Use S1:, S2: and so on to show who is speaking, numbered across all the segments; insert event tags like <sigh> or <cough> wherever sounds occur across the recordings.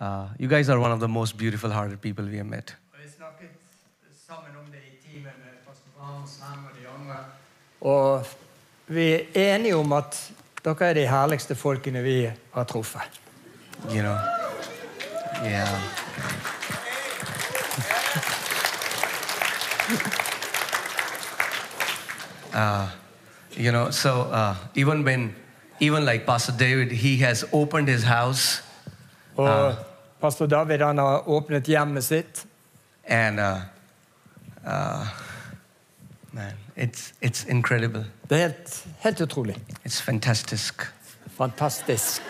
S1: Uh, you guys are one of the most beautiful hearted people we have met.
S2: Og vi snakket sammen om det i teamet med pastor Hans Hem og de andre. Og vi er enige om at dere er de herligste folkene vi har truffet.
S1: You know? Yeah. <laughs> uh, you know, so uh, even when, even like Pastor David, he has opened his house
S2: Og pastor David han har åpnet hjemmet sitt.
S1: and uh, uh, man, it's, it's incredible.
S2: Det er helt, helt utrolig.
S1: It's fantastic.
S2: Fantastisk.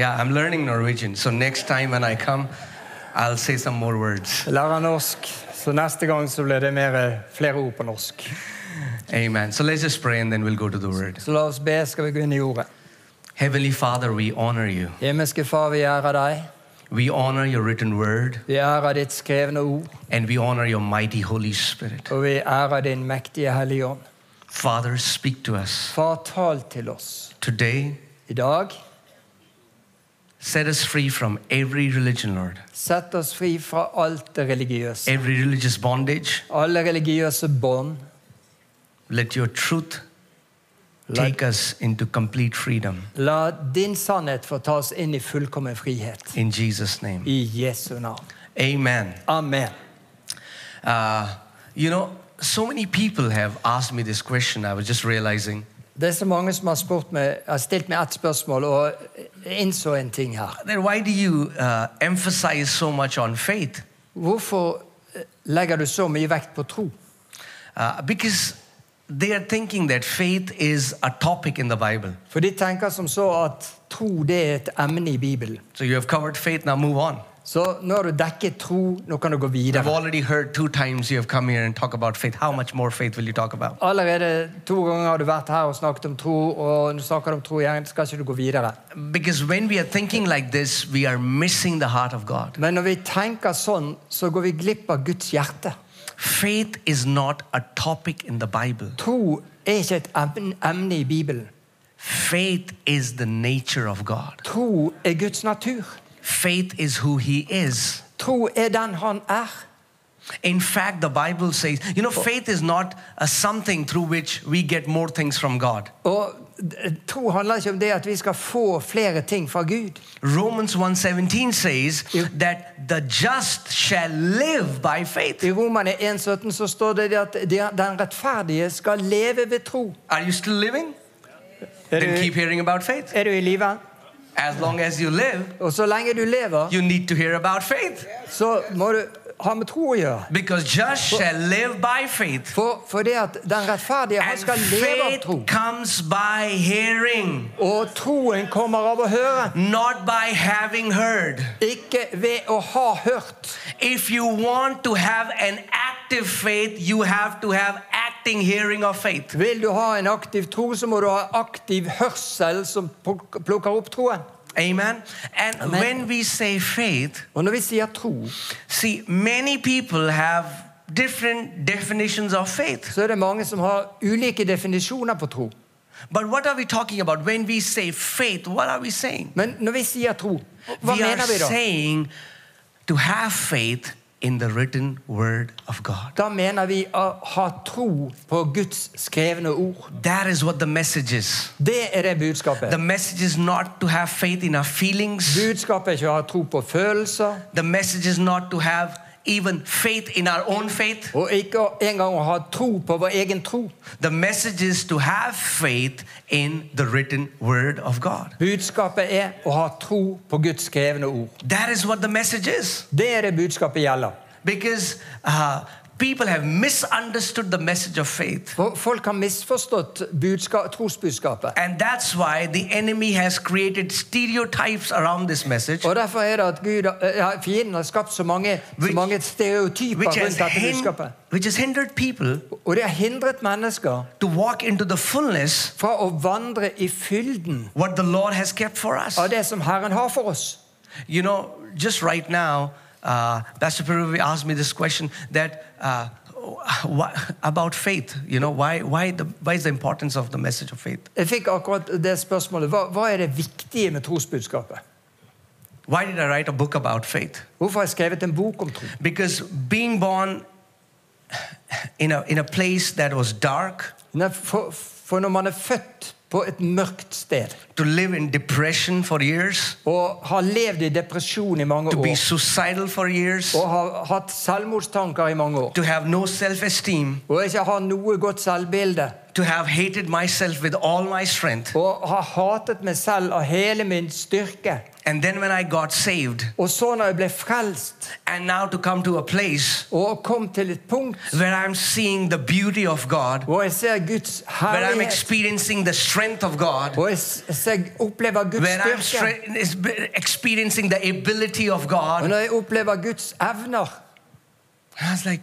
S1: Yeah, I'm learning Norwegian. So next time when I come, I'll say some more words.
S2: Lærer norsk, så neste gang så blir det mer, flere ord på norsk.
S1: Amen. So let's just pray and then we'll go to the word.
S2: Så la oss be, skal vi gå inn i ordet.
S1: Heavenly Father, we honor you.
S2: Himmelske Far, vi ærer deg.
S1: We honor your written word
S2: Vi ærer ditt skrevne ord,
S1: and we honor your mighty Holy Spirit.
S2: og vi ærer din mektige Hellige Ånd.
S1: Father, speak to us.
S2: Far, tal til oss
S1: Today,
S2: i dag.
S1: set us free from every religion, Lord,
S2: Sett oss fri fra alt det religiøse.
S1: every religious bondage.
S2: Alle religiøse bånd.
S1: Let your truth
S2: Let-
S1: take us into complete freedom.
S2: La din sannhet få ta oss inn i fullkommen frihet.
S1: In Jesus' name.
S2: I Jesu navn.
S1: Amen.
S2: Amen.
S1: Uh, you know, so many people have asked me this question. I was just realizing.
S2: Det er så mange som har, spurt meg, har stilt meg ett spørsmål, og jeg innså en ting her.
S1: Then why do you uh, emphasize so much on faith?
S2: Hvorfor eh, legger du så mye vekt på tro?
S1: Uh, because they are thinking that faith is a topic in the Bible.
S2: For de tenker som så at tro det er et emne i Bibelen.
S1: So you have covered faith, now move on.
S2: Så nå har du dekket tro, nå kan du gå
S1: I've
S2: videre.
S1: already heard two times you have come here and talk about faith. How much more faith will you talk about?
S2: Allerede to ganger har du vært her og snakket om tro, og nå snakker du om tro igjen, skal ikke du gå videre.
S1: Because when we are thinking like this, we are missing the heart of God.
S2: Men når vi tenker sånn, så går vi glipp av Guds hjerte.
S1: Faith is not a topic in the Bible.
S2: Tro er ikke et emne, emne i Bibelen.
S1: Faith is the nature of God.
S2: Tro er Guds natur.
S1: Faith is who He is.
S2: Tro er den han er.
S1: In fact, the Bible says, you know, faith is not a something through which we get more things from God.
S2: Og d- tro handler ikke om det at vi skal få flere ting fra Gud.
S1: Romans 1:17 says
S2: Yeah.
S1: that the just shall live by faith.
S2: I Romerne 1,17 så står det det at de- den rettferdige skal leve ved tro.
S1: Are you still living?
S2: Er
S1: Then
S2: du,
S1: keep hearing about faith.
S2: er du i live?
S1: As long as you live,
S2: Og så lenge du lever,
S1: you need to hear about faith
S2: så må du ha med tro å gjøre.
S1: because just shall live by faith.
S2: For, for det at den rettferdige han
S1: And
S2: skal leve av
S1: faith
S2: tro.
S1: comes by hearing,
S2: Og troen kommer av å høre,
S1: not by having heard.
S2: ikke ved å ha hørt.
S1: If you want to have an active faith, you have to have acting hearing of faith.
S2: Vil du ha en aktiv tro, så må du ha aktiv hørsel som pluk- plukker opp troen.
S1: Amen. And when we say faith,
S2: Og når vi sier tro,
S1: See, many people have different definitions of faith.
S2: så er det mange som har ulike definisjoner på tro.
S1: But what are we talking about when we say faith? What are we saying?
S2: Men når vi sier tro, hva
S1: we are
S2: mener vi da?
S1: saying to have faith in the written word of God.
S2: Da mener vi å ha tro på Guds skrevne ord.
S1: That is what the message is.
S2: Det er det budskapet.
S1: The message is not to have faith in our feelings.
S2: Budskapet er ikke å ha tro på følelser,
S1: The message is not to have even faith in our own faith.
S2: og ikke å- engang å ha tro på vår egen tro.
S1: The message is to have faith in the written word of God.
S2: Budskapet er å ha tro på Guds skrevne ord.
S1: That is what the message is.
S2: Det er det budskapet gjelder.
S1: Because uh, people have misunderstood the message of faith.
S2: For Folk har misforstått budska- trosbudskapet.
S1: And that's why the enemy has created stereotypes around this message,
S2: Og Derfor er det at Gud, eh, ja, fienden har skapt så mange, så
S1: Which-
S2: mange stereotyper
S1: which has,
S2: rundt dette
S1: hin-
S2: budskapet.
S1: which has hindered people
S2: Og det har hindret mennesker
S1: to walk into the fullness
S2: fra å vandre i fylden
S1: what the Lord has kept for us.
S2: av det som Herren har for oss.
S1: You know, just right now, uh, Pastor Peruvi asked me this question that. Uh, why, about faith, you know, why, why, the, why is the importance of the message of faith?
S2: Jeg fikk akkurat det spørsmålet. Hva, hva er det viktige med trosbudskapet?
S1: Why did I write a book about faith?
S2: Hvorfor har jeg skrevet en bok om tro?
S1: Because being born in a, in a place that was dark,
S2: Nei, For, for når man er født på et mørkt sted
S1: to live in depression for years,
S2: og har levd i depresjon i mange
S1: to be
S2: år
S1: suicidal for years,
S2: og har hatt selvmordstanker i mange år
S1: to have no self esteem,
S2: og ikke har noe godt selvbilde
S1: to have hated myself with all my strength.
S2: og har hatet meg selv av hele min styrke
S1: And then when I got saved,
S2: Og så når jeg ble frelst
S1: and now to come to a place
S2: og kom til et punkt
S1: where I'm seeing the beauty of God,
S2: hvor jeg ser Guds
S1: where I'm
S2: herlighet,
S1: experiencing the strength of God,
S2: hvor jeg s- ser, opplever Guds
S1: where I'm
S2: styrke,
S1: stre- is- experiencing the ability of
S2: og
S1: God.
S2: når jeg opplever Guds evner
S1: I was like,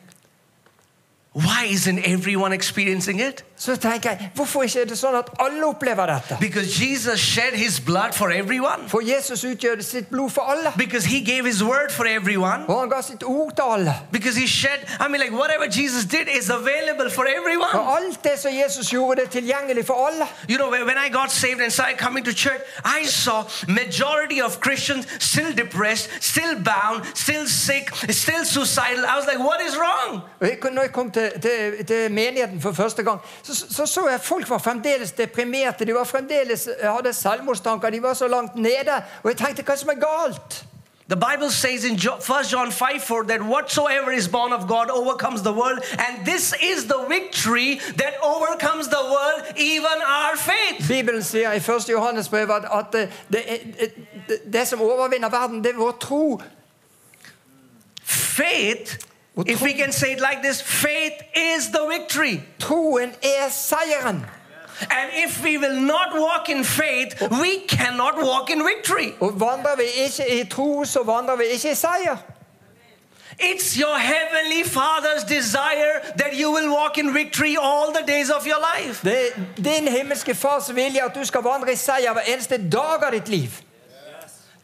S1: why isn't everyone experiencing it?
S2: så tenker jeg, hvorfor ikke er det sånn at alle opplever dette?
S1: Because Jesus shed his blood for everyone.
S2: For Jesus utgjør sitt blod for alle.
S1: Because he gave his word for everyone.
S2: Og han ga sitt ord til alle.
S1: Because he shed, I mean, like whatever Jesus did is available for everyone.
S2: Og alt det som Jesus gjorde, det er tilgjengelig for alle.
S1: You know, when when I got saved and started coming to church, I saw majority of Christians still depressed, still bound, still sick, still suicidal. I was like, what is wrong?
S2: Og jeg, når jeg kom til, til, til menigheten for første gang, så så, så jeg at folk var fremdeles deprimerte. De var fremdeles eh, hadde selvmordstanker. De var så langt nede. Og jeg tenkte, hva er det som er galt?
S1: The Bible says in Jo- 1 John 5 4 that whatsoever is born of God overcomes the world, and this is the victory that overcomes the world, even our faith.
S2: Bibelen sier i 1. Johannes brev at, at eh, det, det, det, det som overvinner verden, det er vår tro.
S1: Faith,
S2: What
S1: if we can say it like this, faith is the victory.
S2: Troen er seieren.
S1: And if we will not walk in faith, we cannot walk in victory.
S2: Og vandrer vi ikke i tro, så vandrer vi ikke i seier.
S1: It's your heavenly Father's desire that you will walk in victory all the days of your life.
S2: Det er din himmelske fars vilje at du skal vandre i seier hver eneste dag av ditt liv.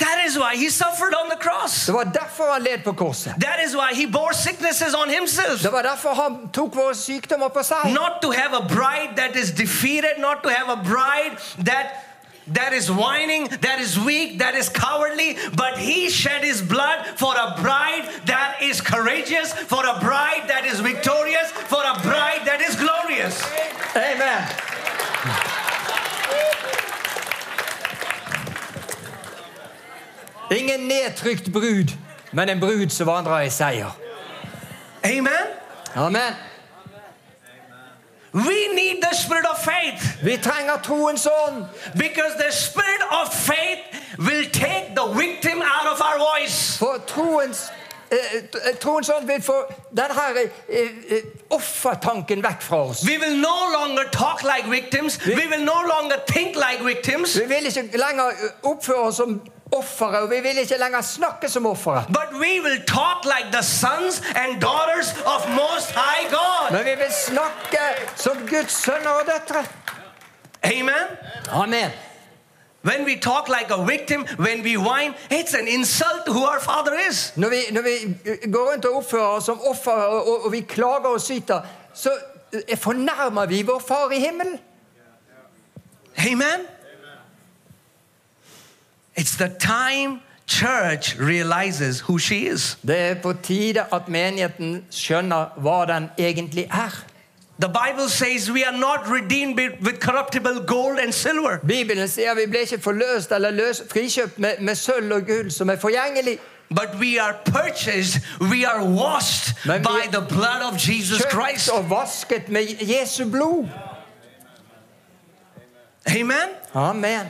S1: That is why He suffered on the cross.
S2: Det var derfor han led på korset.
S1: That is why He bore sicknesses on Himself.
S2: Det var derfor han tok våre sykdommer på seg.
S1: not to have a bride that is defeated, not to have a bride that that is whining, that is weak, that is cowardly, but he shed his blood for a bride that is courageous, for a bride that is victorious, for a bride that is glorious.
S2: Amen. Ingen nedtrykt brud, men en brud som vandrer i seier.
S1: Amen.
S2: Amen.
S1: We need the spirit of faith
S2: Vi trenger troens ånd,
S1: because the spirit of faith will take the victim out of our voice.
S2: for troens eh, eh, Troens ånd vil få denne eh, eh, offertanken vekk fra oss.
S1: We will no longer talk like victims. We will no longer think like victims.
S2: Vi vil ikke lenger eh, oppføre oss som offere, og vi vil ikke lenger snakke som offere.
S1: But we will talk like the sons and daughters of Most High God.
S2: Men vi vil snakke som Guds sønner og døtre.
S1: Amen.
S2: Amen.
S1: When we talk like a victim, when we whine, it's an insult to who our Father is.
S2: Når vi, når vi eh, går rundt og oppfører oss som offer, og, og, og vi klager og syter, så eh, fornærmer vi vår far i himmelen.
S1: Amen. It's the time church realizes who she is.
S2: Det er på tide at menigheten skjønner hva den egentlig er.
S1: The Bible says we are not redeemed with with corruptible gold and silver.
S2: Bibelen sier vi ble ikke forløst eller løs, frikjøpt med, med sølv og gull som er forgjengelig.
S1: But we are purchased, we are washed
S2: Men vi-
S1: by the blood of Jesus Christ.
S2: Kjøpt og vasket med Jesu blod.
S1: Amen.
S2: Amen.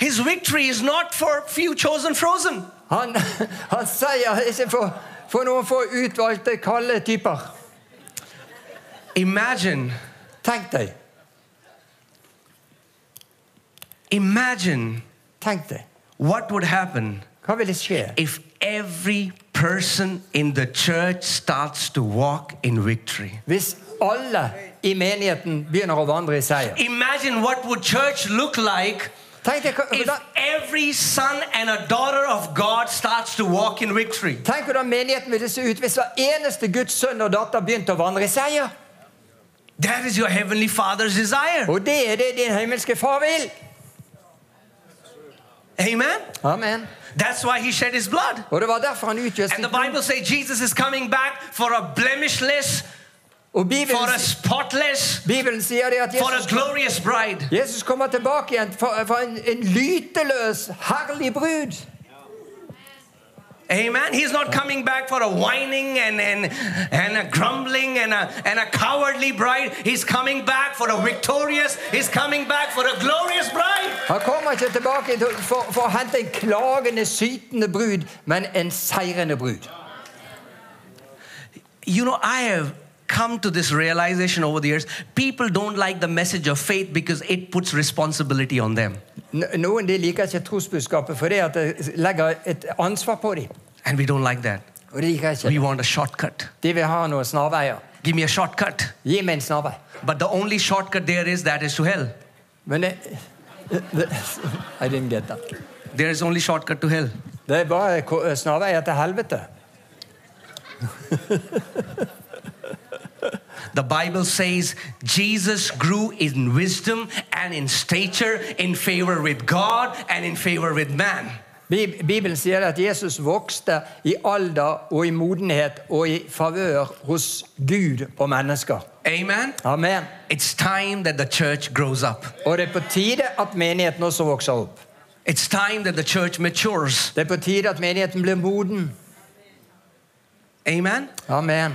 S1: His victory is not for few chosen frozen.
S2: Han, <laughs> han sier <laughs> ikke for, for noen få utvalgte, kalde typer.
S1: Imagine,
S2: Tenk deg.
S1: imagine
S2: Tenk deg.
S1: what would happen
S2: Hva ville skje?
S1: if every person in the church starts to walk in victory.
S2: Hvis alle i menigheten begynner å vandre i seier.
S1: Imagine what would church look like
S2: Tenk deg hva-
S1: if
S2: hvordan,
S1: every son and a daughter of God starts to walk in victory.
S2: tenk hvordan menigheten ville se ut hvis hver eneste Guds sønn og datter begynte å vandre i seier.
S1: That is your heavenly father's desire.
S2: Og det er det din himmelske far vil.
S1: Amen.
S2: Amen.
S1: That's why he shed his blood.
S2: Og det var derfor han utgjøt
S1: And
S2: sitt
S1: the Bible says Jesus is coming back for a blemishless,
S2: Og
S1: for a
S2: Bibelen,
S1: spotless,
S2: Bibelen sier det at
S1: for a
S2: Jesus,
S1: glorious bride.
S2: Jesus kommer tilbake igjen for, for en, en lyteløs, herlig brud.
S1: Amen. He's not coming back for a whining and, and, and a grumbling and a, and a cowardly bride. He's coming back for a victorious, he's coming back for a glorious bride.
S2: Han kommer ikke tilbake til- for, for å hente en klagende, sytende brud, men en seirende brud.
S1: You know, I have come to this realization over the years people don't like the message of faith because it puts responsibility on them.
S2: No- Noen de liker ikke trosbudskapet fordi at det legger et ansvar på dem.
S1: And we don't like that.
S2: Og det liker jeg
S1: We
S2: ikke.
S1: want a shortcut.
S2: De vil ha noen snarveier.
S1: Give me a shortcut.
S2: Gi meg en snarvei.
S1: But the only shortcut there is that is to hell.
S2: Men det <laughs> I didn't get that.
S1: There is only shortcut to hell.
S2: Det er bare ko- snarveier til helvete.
S1: The Bible says Jesus grew in wisdom and in stature, in favor with God and in favor with man.
S2: Bib- Bibelen sier at Jesus vokste i alder og i modenhet og i favør hos Gud og mennesker.
S1: Amen.
S2: Amen.
S1: It's time that the church grows up.
S2: Og det er på tide at menigheten også vokser opp.
S1: It's time that the church matures.
S2: Det er på tide at menigheten blir moden.
S1: Amen.
S2: Amen.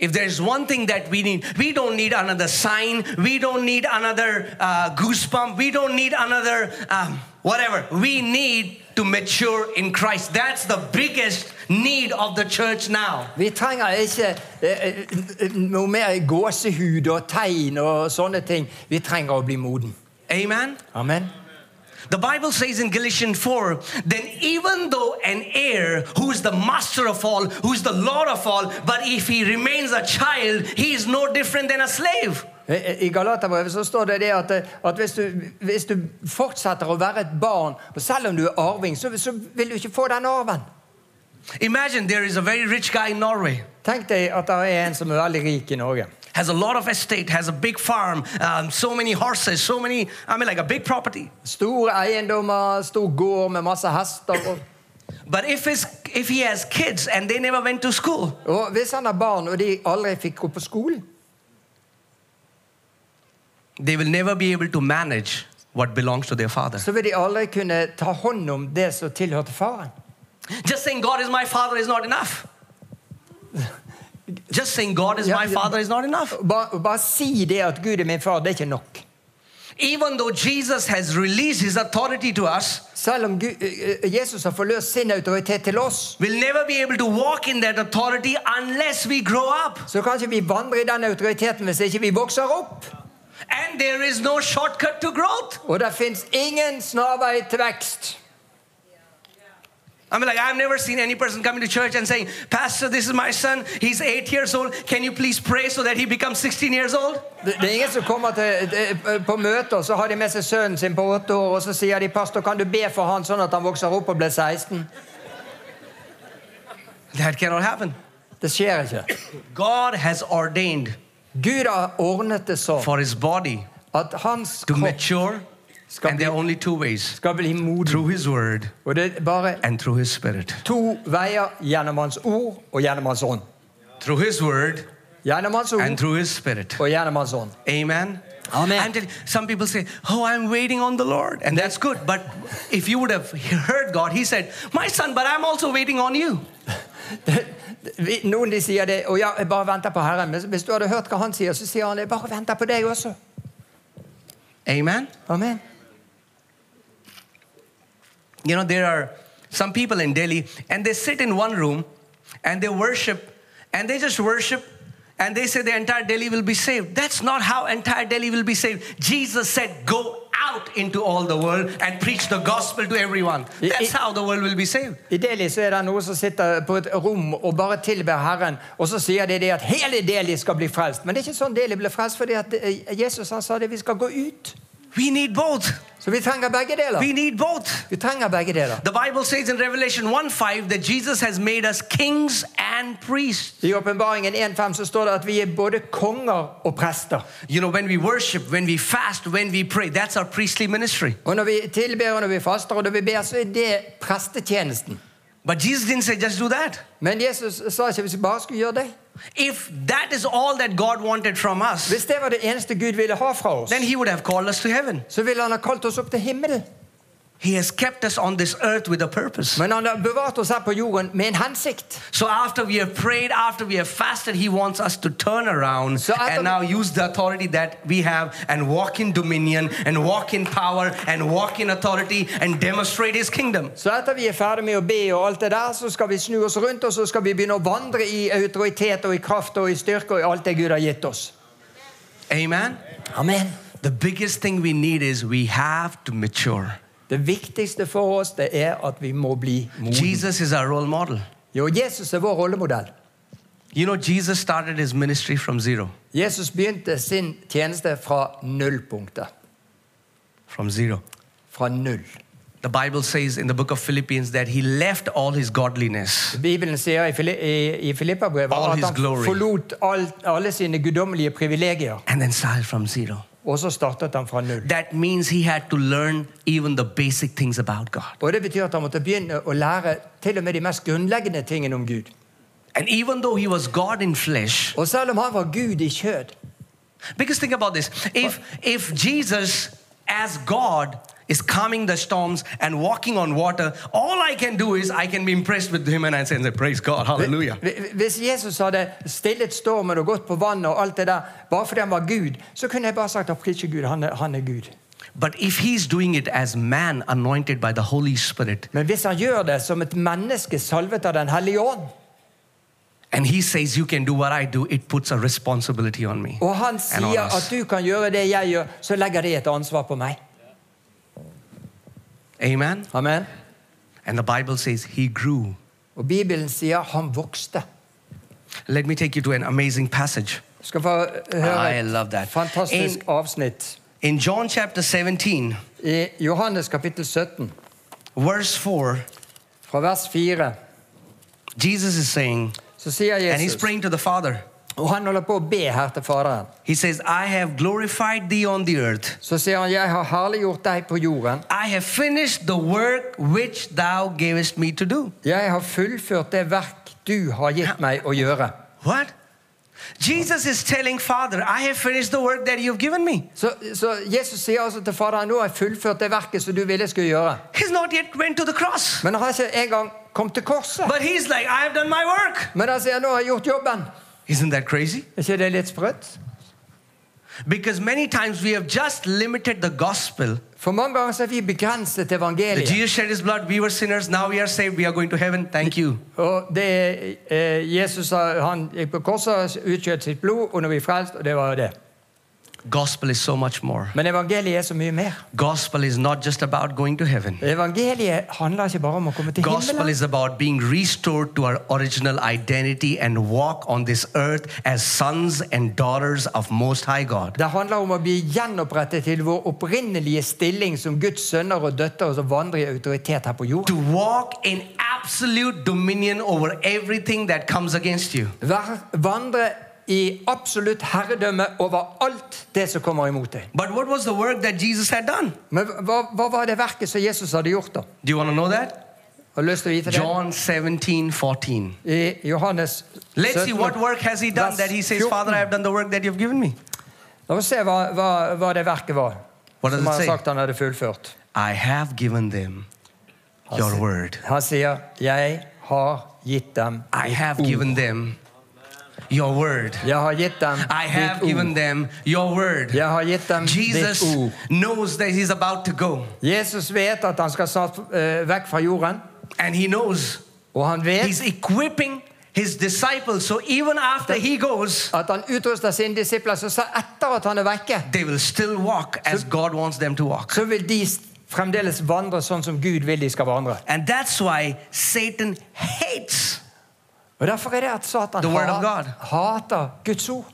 S1: If there's one thing that we need, we don't need another sign, we don't need another uh, goosebump, we don't need another um, whatever. We need to mature in Christ. That's the biggest need of the church now.
S2: Vi trenger ikke eh, eh, noe mer gåsehud og tegn og sånne ting. Vi trenger å bli moden.
S1: Amen.
S2: Amen.
S1: The Bible says in Galatians 4 then even though an heir who is the master of all, who is the Lord of all, but if he remains a child, he is no different than a slave.
S2: Eh, I i Galaterbrevet så står det det at, eh, at hvis, du, hvis du fortsetter å være et barn, og selv om du er arving, så, så vil du ikke få den arven.
S1: Imagine there is a very rich guy in Norway,
S2: Tenk deg at det er en som er veldig rik i Norge.
S1: has a lot of estate, has a big farm, um, so many horses, so many, I mean, like a big property.
S2: Store eiendommer, stor gård med masse hester. Og,
S1: But if, his, if he has kids and they never went to school,
S2: og hvis han har barn, og de aldri fikk gå på skolen,
S1: they will never be able to manage what belongs to their father.
S2: så vil de aldri kunne ta hånd om det som tilhørte faren.
S1: Just saying God is my father is not enough. Just saying God is
S2: Yeah,
S1: my
S2: yeah.
S1: father is not enough.
S2: Bare, bare si det at Gud er min far, det er ikke nok.
S1: Even though Jesus has released his authority to us,
S2: Selv om Gud, eh, eh, Jesus har forløst sin autoritet til oss,
S1: we'll never be able to walk in that authority unless we grow up.
S2: så kan ikke vi vandre i den autoriteten hvis ikke vi vokser opp.
S1: And there is no shortcut to growth.
S2: Og det fins ingen snarvei til vekst.
S1: I mean, like, I've never seen any person coming to church and saying, Pastor, this is my son. He's eight years old. Can you please pray so that he becomes 16 years old?
S2: Det det er ingen som kommer til, eh, på møter, og så har de med seg sønnen sin på åtte år, og så sier de 'Pastor, kan du be for han sånn at han vokser opp og blir 16?'
S1: That cannot happen.
S2: Det skjer ikke.
S1: God has ordained
S2: Gud har ordnet det sånn
S1: for his body
S2: at hans
S1: to
S2: kropp
S1: mature,
S2: Ska
S1: and there are only two ways.
S2: skal bli moden.
S1: through his word
S2: Og det er bare
S1: and through his spirit.
S2: to veier gjennom hans ord og gjennom hans ånd.
S1: Through his word
S2: Gjennom hans
S1: and
S2: ord
S1: through his spirit.
S2: og gjennom hans ånd.
S1: Amen.
S2: Amen.
S1: I'm telling, some people say, "Oh, I'm waiting on the Lord," and that's good. But if you would have heard God, He said, "My son, but I'm also waiting on you."
S2: Det- det- <laughs> vi- Noen de sier det, og ja, jeg bare venter på Herren. Men hvis du hadde hørt hva han sier, så sier han jeg bare venter på deg også.
S1: Amen.
S2: Amen.
S1: You know, there are some people in Delhi, and they sit in one room, and they worship, and they just worship. And they say the entire Delhi will be saved. That's not how entire Delhi will be saved. Jesus said, Go out into all the world and preach the gospel to everyone.
S2: I-
S1: That's
S2: I-
S1: how the world will be saved.
S2: I Delhi så er det noen som sitter på et rom og bare tilber Herren, og så sier de det at hele Delhi skal bli frelst. Men det er ikke sånn Delhi ble frelst, fordi at eh, Jesus han sa det, vi skal gå ut.
S1: We need both.
S2: Så vi trenger begge deler.
S1: We need both.
S2: Vi trenger begge deler.
S1: The Bible says in Revelation 1 5 that Jesus has made us kings and and priests.
S2: I Åpenbaringen 1,5 så står det at vi er både konger og prester.
S1: You know, when we worship, when we fast, when we pray, that's our priestly ministry.
S2: Og Når vi tilber og når vi faster og når vi ber, så er det prestetjenesten.
S1: But Jesus didn't say just do that.
S2: Men Jesus sa ikke hvis vi bare skulle gjøre det.
S1: If that is all that God wanted from us,
S2: Hvis det var det eneste Gud ville ha fra oss,
S1: then He would have called us to heaven.
S2: så ville han ha kalt oss opp til himmelen.
S1: He has kept us on this earth with a purpose.
S2: Men han har bevart oss her på jorden med en hensikt.
S1: So after we have prayed, after we have fasted, He wants us to turn around
S2: So after-
S1: and now use the authority that we have and walk in dominion and walk in power and walk in authority and demonstrate His kingdom.
S2: Så etter vi er ferdig med å be, og alt det der, så skal vi snu oss rundt og så skal vi begynne å vandre i autoritet og i kraft og i styrke og i alt det Gud har gitt oss.
S1: Amen.
S2: Amen.
S1: The biggest thing we need is we have to mature.
S2: Det viktigste for oss det er at vi må bli modige.
S1: Jesus is our role model.
S2: Jo, Jesus er vår rollemodell.
S1: You know, Jesus started his ministry from zero.
S2: Jesus begynte sin tjeneste fra nullpunktet.
S1: From zero.
S2: Fra null.
S1: The Bible says in the book of Philippians that he left all his godliness.
S2: Bibelen sier i, Fili i, i Filipperbrevet
S1: All
S2: at
S1: his
S2: han
S1: glory.
S2: forlot all, alle sine guddommelige privilegier,
S1: And then started from zero.
S2: og så startet han fra null.
S1: That means he had to learn even the basic things about God.
S2: Og Det betyr at han måtte begynne å lære til og med de mest grunnleggende tingene om Gud.
S1: And even though he was God in flesh,
S2: Og selv om han var Gud i kjød
S1: because think about this if, if Jesus, as God, is calming the storms and walking on water, all I can do is I can be impressed with him and I say, Praise God, hallelujah.
S2: Hvi- Hvis Jesus hadde stillet stormen og gått på vannet og alt det der bare fordi han var Gud, så kunne jeg bare sagt at ikke Gud, han er, han er Gud.
S1: But if he's doing it as man anointed by the Holy Spirit,
S2: Men hvis han gjør det som et menneske salvet av Den hellige ånd,
S1: and he says, You can do what I do, it puts a responsibility on me.
S2: og han
S1: And on
S2: sier
S1: us.
S2: at du kan gjøre det jeg gjør, så legger det et ansvar på meg.
S1: Amen.
S2: Amen.
S1: And the Bible says he grew.
S2: Og Bibelen sier han vokste.
S1: Let me take you to an amazing passage.
S2: Du skal få høre
S1: Ah, I love that.
S2: et fantastisk avsnitt
S1: In John chapter 17,
S2: i Johannes kapittel 17,
S1: verse 4,
S2: fra vers 4.
S1: Jesus is saying,
S2: Så sier
S1: and he's
S2: Jesus,
S1: praying to the Father.
S2: og han holder på å be her til Faderen.
S1: He says, I have glorified thee on the earth.
S2: Så sier han, 'Jeg har herliggjort deg på jorden.
S1: I have finished the work which thou gavest me to do.
S2: Jeg har fullført det verk du har gitt meg å gjøre.'
S1: What? Jesus is telling Father, I have finished the work that you've given me.
S2: Så, så Jesus sier altså til Faderen, 'Nå har jeg fullført det verket som du ville jeg skulle gjøre.'
S1: He's not yet went to the cross.
S2: Men han har ikke engang kommet til korset.
S1: But he's like, I have done my work.
S2: Men han sier, 'Nå har jeg gjort jobben'.
S1: Isn't that crazy?
S2: Er ikke det litt sprøtt?
S1: Because many times we have just limited the gospel.
S2: For mange ganger så er vi begrenset til
S1: That
S2: evangeliet.
S1: Jesus shed his blood, we were sinners, now we are saved, we are going to heaven. Thank you.
S2: Og det er, eh, Jesus sa- han gikk på korset, utgjøt sitt blod, og nå er vi frelst, og det var jo det.
S1: Gospel is so much more.
S2: Men evangeliet er så mye mer.
S1: Gospel is not just about going to heaven.
S2: Evangeliet handler ikke bare om å komme til
S1: Gospel
S2: himmelen.
S1: is about being restored to our original identity and walk on this earth as sons and daughters of Most High God.
S2: Det handler om å bli gjenopprettet til vår opprinnelige stilling som Guds sønner og døtre, og som vandrer i autoritet her på jord.
S1: To walk in absolute dominion over everything that comes against you.
S2: Vær- Vandre i absolutt herredømme over alt det som kommer imot deg.
S1: But what was the work that Jesus had done?
S2: Men hva, hva var det verket som Jesus hadde gjort, da?
S1: Do you want to know that?
S2: Har du lyst til å vite det?
S1: John 17 14.
S2: I Johannes
S1: Let's see
S2: 17.
S1: what work has he done
S2: Vers
S1: that he says,
S2: 14.
S1: Father, I have done the work that you've given me.
S2: La oss se hva, hva, hva det verket var.
S1: Hva er det
S2: som
S1: det
S2: han
S1: sier?
S2: sagt han hadde fullført.
S1: I have given them your word.
S2: Han sier 'Jeg har gitt dem
S1: I have given them your word.
S2: Jeg har gitt dem
S1: I have
S2: ditt
S1: given
S2: ord.
S1: them your word.
S2: Jeg har gitt dem
S1: Jesus
S2: ditt ord.
S1: knows that he's about to go,
S2: Jesus vet at han skal snart eh, vekk fra jorden.
S1: and he knows
S2: Og han vet
S1: he's equipping his disciples. So even after he goes,
S2: at han utruster sine disipler. Så sa- etter at han er vekke,
S1: they will still walk as God wants them to walk.
S2: så vil de s- fremdeles vandre sånn som Gud vil de skal vandre.
S1: And that's why Satan hates.
S2: Og Derfor er det at Satan
S1: The word of God.
S2: hater Guds ord.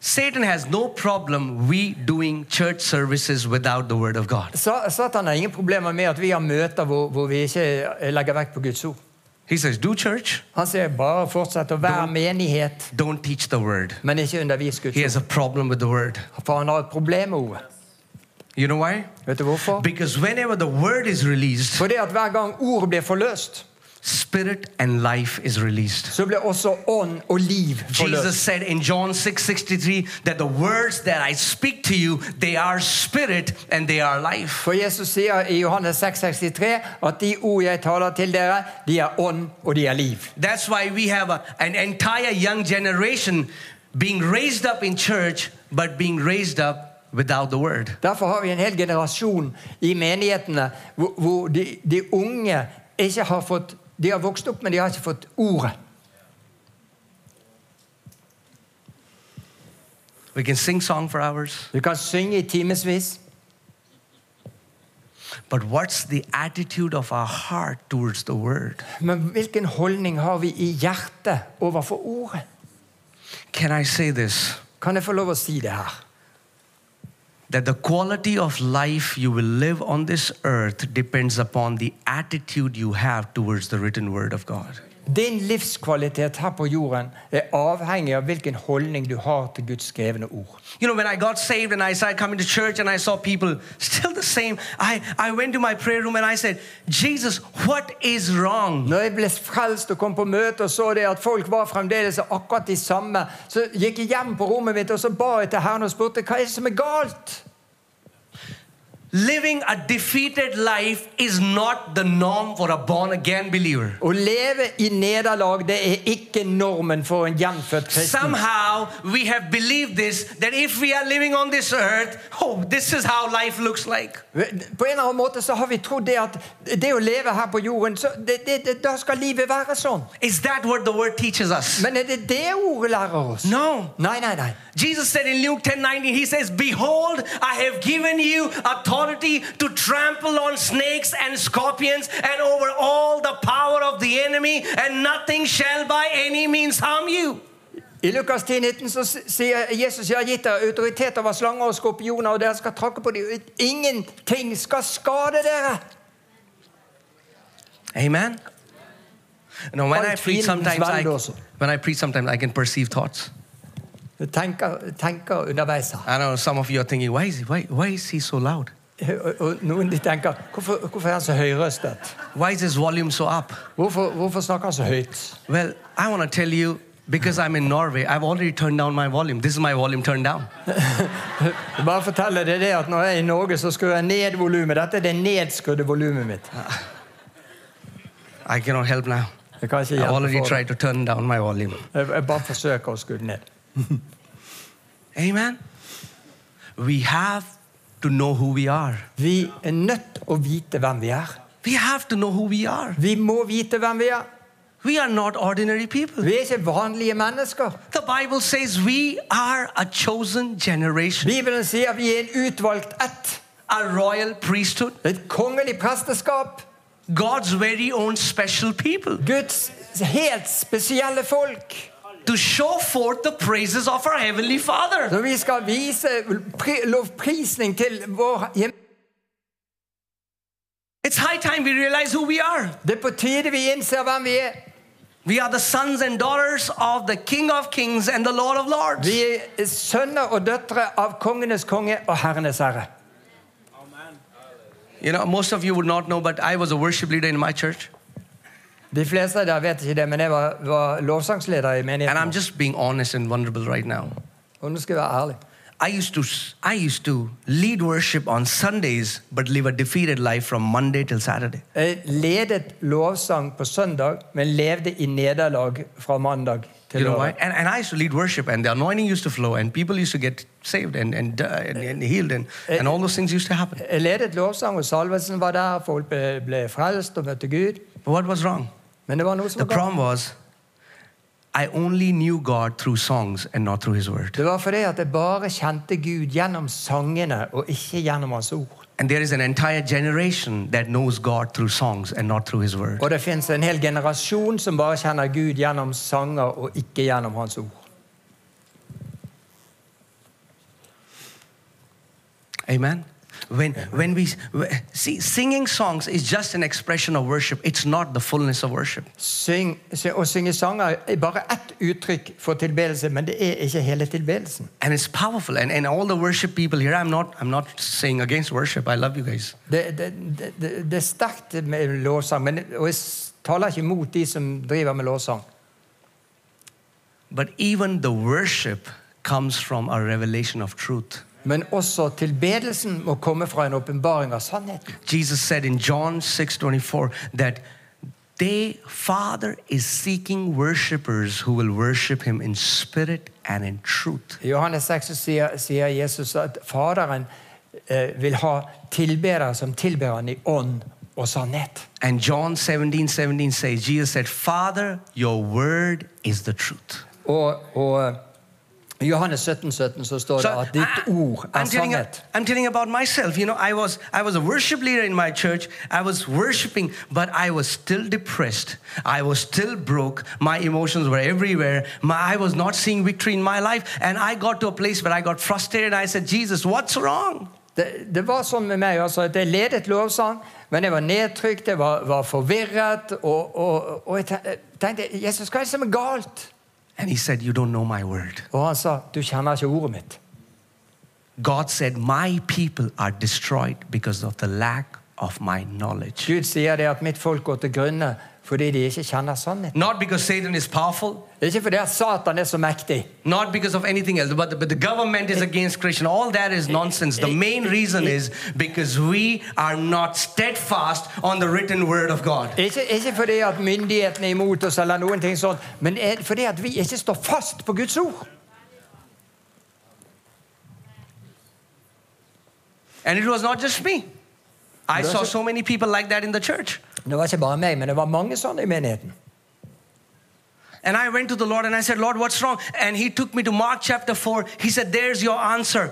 S1: Satan has no problem we doing church services without the word of God.
S2: Sa- Satan har ingen problemer med at vi har møter hvor, hvor vi ikke legger vekt på Guds ord.
S1: He says, Do church,
S2: Han sier bare fortsett å være menighet,
S1: don't teach the word.
S2: men ikke undervis Guds
S1: He has a problem with the word.
S2: ord. For han har et problem med ordet.
S1: You know why?
S2: Vet du hvorfor?
S1: Because whenever the word is released,
S2: Fordi at hver gang ord blir forløst,
S1: spirit and life is released.
S2: så blir også ånd og liv
S1: Jesus
S2: forløst.
S1: said in John 6:63 that the words that I speak to you they are spirit and they are life.
S2: For Jesus sier i Johannes 6,63 at de ord jeg taler til dere, de er ånd og de er liv.
S1: That's why we have a, an entire young generation being raised up in church but being raised up without the word.
S2: Derfor har vi en hel generasjon i menighetene hvor, hvor de, de unge ikke har fått De har vokst opp, men de har ikke fått ordet.
S1: We can sing song for hours,
S2: Du kan synge i timevis,
S1: but what's the attitude of our heart towards the word?
S2: men hvilken holdning har vi i hjertet overfor ordet?
S1: Can I say this?
S2: Kan jeg få lov å si det her?
S1: That the quality of life you will live on this earth depends upon the attitude you have towards the written word of God.
S2: Din livskvalitet her på jorden er avhengig av hvilken holdning du har til Guds skrevne ord.
S1: You know, when I got saved and I started coming to church and I saw people still the same, I, I went to my prayer room and I said, Jesus, what is wrong?
S2: Når jeg ble frelst og kom på møte og så det at folk var fremdeles akkurat de samme, så gikk jeg hjem på rommet mitt og så ba jeg til Herren og spurte hva er det som er galt.
S1: Living a defeated life is not the norm for a born again believer.
S2: Å leve i nederlag det er ikke normen for en gjenfødt kristen.
S1: Somehow we have believed this that if we are living on this earth, oh, this is how life looks like.
S2: På en eller annen måte så har vi trodd det at det å leve her på jorden, så det, det, det, da skal livet være sånn.
S1: Is that what the word teaches us?
S2: Men er det det ordet lærer oss?
S1: No.
S2: Nei, nei, nei.
S1: Jesus said in Luke 10 19, He says, Behold, I have given you authority to trample on snakes and scorpions and over all the power of the enemy, and nothing shall by any means harm you.
S2: I Lukas 10, 19 så sier Jesus jeg har gitt dere autoritet over slanger og skorpioner, og dere skal tråkke på dem. Ingenting skal skade dere.
S1: Amen. Now, when I
S2: Alt
S1: preach,
S2: fiendens
S1: sometimes I,
S2: veld også.
S1: when I preach, sometimes I can perceive thoughts.
S2: Du tenker, tenker underveis her.
S1: I know some of you are thinking, why is he, why, why is he so loud?
S2: Og, og noen de tenker hvorfor, hvorfor er han så høyrøstet?
S1: Why is his volume so up?
S2: Hvorfor, hvorfor snakker han så høyt?
S1: Well, I want to tell you because I'm in Norway, I've already turned down my volume. This is my volume turned down.
S2: Bare fortelle deg det at når jeg er i Norge, så skrur jeg ned volumet. Dette er det nedskrudde volumet mitt.
S1: I cannot help now.
S2: Jeg kan ikke
S1: I already
S2: hjelpe for det.
S1: tried to turn down my volume.
S2: Jeg, jeg bare forsøker å skru det ned.
S1: Amen. We have to know who we are.
S2: Vi er nødt å vite hvem vi er.
S1: We have to know who we are.
S2: Vi må vite hvem vi er.
S1: We are not ordinary people.
S2: Vi er ikke vanlige mennesker.
S1: The Bible says we are a chosen generation,
S2: Bibelen sier vi er en utvalgt ett.
S1: a royal priesthood,
S2: Et kongelig presteskap.
S1: God's very own special people
S2: Guds helt spesielle folk.
S1: to show forth the praises of our Heavenly Father.
S2: Så vi skal vise pri- lovprisning til vår hjem.
S1: It's high time we realize who we are.
S2: Det er på tide vi innser hvem vi er.
S1: We are the sons and daughters of the King of Kings and the Lord of Lords.
S2: Vi er sønner og døtre av kongenes konge og herrenes herre.
S1: You know, most of you would not know, but I was a worship leader in my church.
S2: De fleste av dere vet ikke det, men jeg var, var lovsangsleder i
S1: And I'm
S2: menigheten.
S1: just being honest and vulnerable right now.
S2: Og nå skal jeg være ærlig.
S1: I used to I used to lead worship on Sundays but live a defeated life from Monday till Saturday.
S2: Jeg ledet lovsang på søndag, men levde i nederlag fra mandag til
S1: You know why?
S2: lørdag.
S1: And, and I used to lead worship and the anointing used to flow and people used to get saved and and, uh, and, and healed and, and all those things used to happen.
S2: Jeg ledet lovsang, og Salvesen var der. Folk ble, ble frelst og møtte Gud.
S1: But what was wrong?
S2: Men det var noe
S1: The
S2: som var galt.
S1: problem was I only knew God through songs and not through his word.
S2: Det var fordi at jeg bare kjente Gud gjennom sangene og ikke gjennom hans ord.
S1: And there is an entire generation that knows God through songs and not through his word.
S2: Og det fins en hel generasjon som bare kjenner Gud gjennom sanger og ikke gjennom hans ord.
S1: Amen. When, when we see, singing songs is just an expression of worship, it's not the fullness of worship.
S2: Syng, sy- å synge sanger er bare ett uttrykk for tilbedelse, men det er ikke hele tilbedelsen.
S1: And it's powerful. And, and all the worship people here, I'm not, I'm not saying against worship, I love you guys.
S2: Det, det, det, det- det er sterkt med lovsang, men, og jeg s- taler ikke mot de som driver med lovsang.
S1: But even the worship comes from a revelation of truth.
S2: Men også tilbedelsen må komme fra en åpenbaring av sannheten.
S1: Jesus said in John 6:24 that they Father is seeking worshipers who will worship him in spirit and in truth.
S2: I Johannes 6 så sier, sier Jesus at Faderen eh, vil ha tilbedere som tilber han i ånd og sannhet.
S1: And John 17:17 says Jesus said, "Father, your word is the truth."
S2: Og, og i Johannes 17, 17 så står det at ditt ord
S1: I'm
S2: er
S1: telling,
S2: sannhet.
S1: I'm telling about myself. You know, I was I was a worship leader in my church. I was worshiping, but I was still depressed. I was still broke. My emotions were everywhere. My, I was not seeing victory in my life, and I got to a place where I got frustrated. I said, "Jesus, what's wrong?"
S2: Det, det var sånn med meg altså, at jeg ledet lovsang, men jeg var nedtrykt, jeg var, var forvirret. Og, og, og jeg ten- tenkte Jesus, hva er det som er galt?
S1: And he said, "You don't know my word."
S2: Og han sa, du kjenner ikke ordet mitt.
S1: God said, "My people are destroyed because of the lack of my knowledge."
S2: Gud sier det at mitt folk går til grunne fordi de ikke kjenner sannheten.
S1: Not because Satan is powerful,
S2: Ikke fordi at Satan er så mektig.
S1: not because of anything else but the, but the government is against christian all that is nonsense the main reason is because we are not steadfast on the written word of god
S2: Ikke, ikke fordi at myndighetene er imot oss, eller noen ting sånt, men er- fordi at vi ikke står fast på Guds ord.
S1: and it was not just me i saw so many people like that in the church
S2: Det var ikke bare meg, men det var mange sånne i menigheten.
S1: and i went to the lord and i said lord what's wrong and he took me to mark chapter 4 he said there's your answer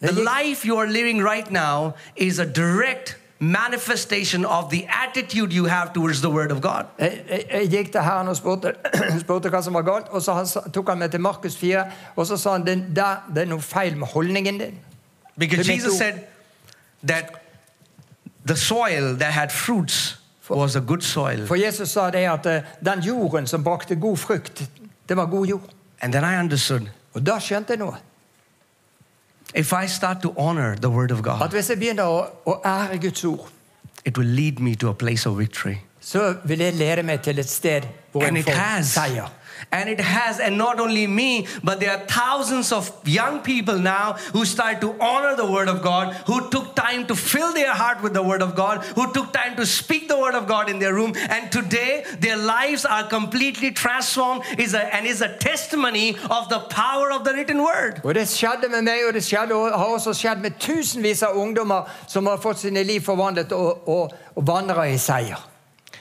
S1: the
S2: Yeah, yeah.
S1: life you are living right now is a direct manifestation of the attitude you have towards the word of god
S2: Jeg, jeg, jeg gikk til Herren og spurte, <clears throat> spurte hva som var galt, og så han, sa- tok han meg til Markus 4, og så sa han det, der, det er noe feil med holdningen din.
S1: Because
S2: Let me
S1: Jesus
S2: do-
S1: said that the soil that had fruits was a good soil.
S2: For Jesus sa det at eh, den jorden som brakte god frukt, det var god jord.
S1: And then I understood
S2: Og da skjønte jeg noe.
S1: if I start to honor the Word of
S2: At
S1: God,
S2: hvis jeg begynner å, å ære Guds ord,
S1: it will lead me to a place of victory.
S2: så vil det lede meg til et sted hvor
S1: And
S2: jeg
S1: it
S2: får
S1: has.
S2: seier.
S1: And it has, and not only me, but there are thousands of young people now who start to honor the Word of God, who took time to fill their heart with the Word of God, who took time to speak the Word of God in their room, and today their lives are completely transformed is a, and is a testimony of the power of the written Word.
S2: Og det skjedde med meg, og det skjedde, og har også skjedd med tusenvis av ungdommer som har fått sine liv forvandlet og, og, og vandrer i seier.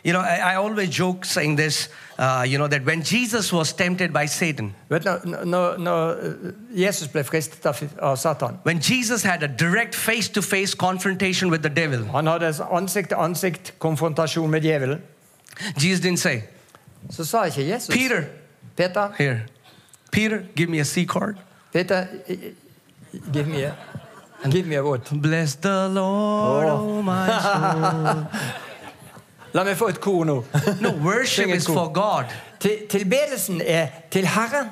S1: You know, I, I always joke saying this, uh, you know, that when Jesus was tempted by Satan,
S2: Vet du, når- når, når eh, Jesus ble fristet av, av Satan
S1: when Jesus had a direct face to face confrontation with the devil,
S2: Han hadde ansikt-til-ansikt-konfrontasjon med djevelen.
S1: Jesus didn't say,
S2: Så sa ikke Jesus
S1: Peter,
S2: Peter,
S1: Here, Peter, give me a C card.
S2: Peter give me a, give me a vote.
S1: Bless the Lord, oh, <laughs>
S2: Oh.
S1: my
S2: La meg få et kor nå.
S1: soul. No, worship
S2: Sing it
S1: is
S2: cool.
S1: for God.
S2: Til, tilbedelsen er til Herren.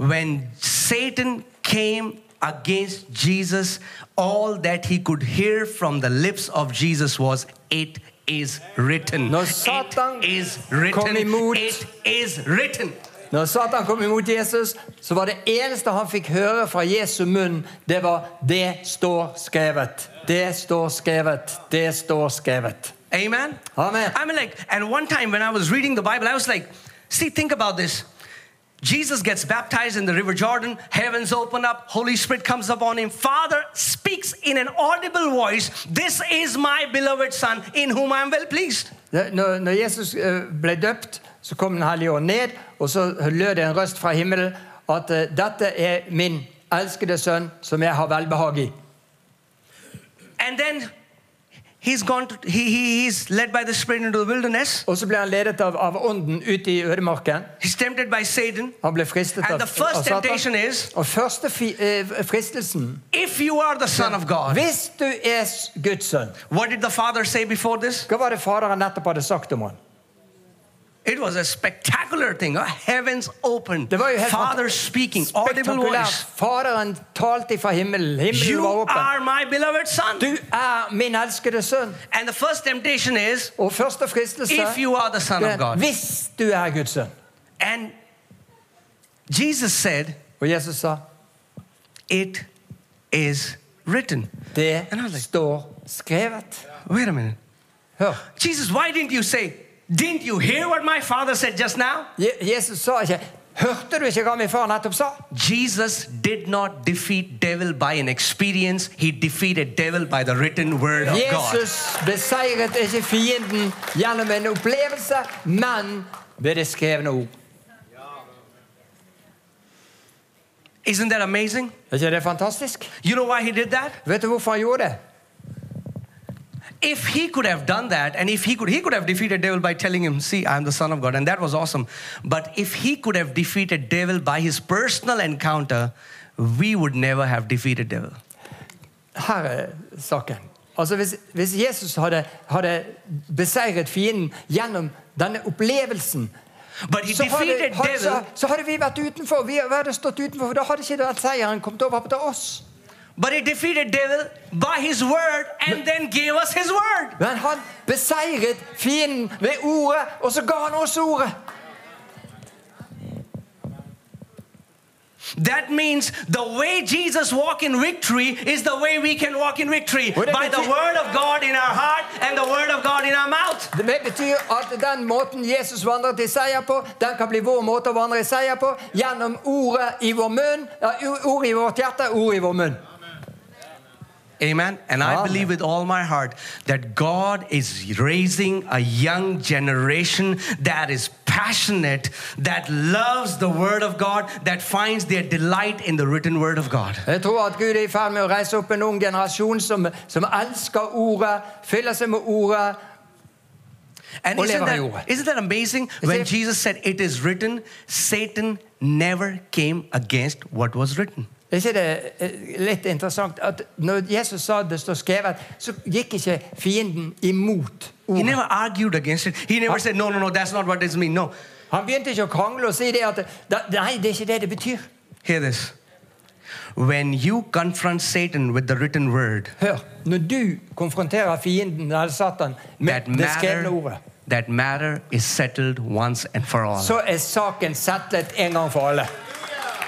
S1: When Satan came against Jesus, all that he could hear from the lips of Jesus was, It is written.
S2: Når Satan
S1: it is
S2: kom
S1: written.
S2: imot-
S1: It is written.
S2: Når Satan kom imot Jesus, så var det eneste han fikk høre fra Jesu munn, det var 'Det står skrevet'. Det står skrevet. Det står skrevet.
S1: Amen.
S2: Amen.
S1: I mean, like, and one time when I was reading the Bible, I was like, see, think about this. Jesus gets baptized in the River Jordan, heavens open up, Holy Spirit comes upon him. Father speaks in an audible voice, This is my beloved Son, in whom I am well pleased.
S2: Det- Når, når Jesus eh, ble døpt, så kom Den hellige ånd ned, og så lød det en røst fra himmelen at eh, 'dette er min elskede sønn, som jeg har velbehag i'.
S1: And then He's gone to, he, he, he's led by the Spirit into the wilderness.
S2: Og så ble han ledet av, av ånden ut i ødemarken.
S1: He's tempted by Satan.
S2: Han ble fristet
S1: And
S2: av,
S1: the first
S2: av
S1: temptation
S2: Satan.
S1: is
S2: Og første fi, eh, fristelsen
S1: if you are the Son of God.
S2: Hvis du er s- Guds sønn
S1: What did the Father say before this?
S2: Hva var det faderen nettopp hadde sagt om han?
S1: It was a spectacular thing. Uh, heavens opened.
S2: Det var jo helt
S1: Father speaking, audible
S2: spektakulært.
S1: voice.
S2: Faderen talte ifra himmelen. Himmelen
S1: You
S2: var åpen.
S1: are my beloved Son.
S2: Du er min elskede sønn.
S1: And the first temptation is
S2: Og første fristelse
S1: if you are the Son
S2: det er,
S1: of God.
S2: Hvis du er Guds sønn.
S1: And Jesus said,
S2: Og Jesus sa
S1: It is written.
S2: det
S1: And I was like-
S2: står skrevet.
S1: Wait a minute.
S2: Hør.
S1: Jesus, why didn't you say, Didn't you hear what my Father said just now?
S2: Je Jesus sa ikke Hørte du ikke hva min far nettopp sa?
S1: Jesus did not defeat devil by an experience. He defeated devil by the written word of God.
S2: Jesus beseiret ikke fienden gjennom en opplevelse, men ved det skrevne ord.
S1: Isn't that amazing?
S2: Er ikke det fantastisk?
S1: You know why he did that?
S2: Vet du hvorfor han gjorde det?
S1: If he could have done that, and if he could, he could have defeated devil by telling him, "See, I am the Son of God," and that was awesome. But if he could have defeated devil by his personal encounter, we would never have defeated devil.
S2: Her er saken. Altså Hvis, hvis Jesus hadde, hadde beseiret fienden gjennom denne opplevelsen,
S1: But he
S2: så hadde,
S1: defeated
S2: hadde, så,
S1: devil.
S2: så hadde vi vært utenfor. Vi hadde stått utenfor, for Da hadde ikke den seieren kommet over til oss.
S1: But he defeated devil by his word, and then gave us his word.
S2: Men han beseiret fienden ved ordet, og så ga han oss ordet.
S1: That means the way Jesus walked in victory is the way we can walk in victory
S2: What did
S1: by
S2: it
S1: the
S2: say?
S1: word of God in our heart and the word of God in our mouth.
S2: Det betyr at den måten Jesus vandret i seier på, den kan bli vår måte å vandre i seier på gjennom ordet i vår munn, ja, ordet i vårt hjerte, ordet i vår munn.
S1: Amen. And I
S2: Amen.
S1: believe with all my heart that God is raising a young generation that is passionate, that loves the Word of God, that finds their delight in the written Word of God.
S2: Jeg tror at Gud er i ferd med å reise opp en ung generasjon som, som elsker ordet, fyller seg med ordet.
S1: And
S2: Ole
S1: isn't that,
S2: Rayo.
S1: isn't that amazing? When
S2: it-
S1: Jesus said, It is written, Satan never came against what was written.
S2: Er ikke det eh, litt interessant at når Jesus sa det står skrevet, så gikk ikke fienden imot
S1: He
S2: ordet.
S1: never argued against it. He never said, No, no, no, that's not what it means. No.
S2: Han begynte ikke å krangle og si det at da- Nei, det er ikke det det betyr.
S1: Hear this. When you confront Satan with the written word,
S2: Hør, når du konfronterer fienden eller Satan
S1: that
S2: med det skrevne
S1: matter,
S2: ordet,
S1: that matter is settled once and for all.
S2: så er saken settlet en gang for alle.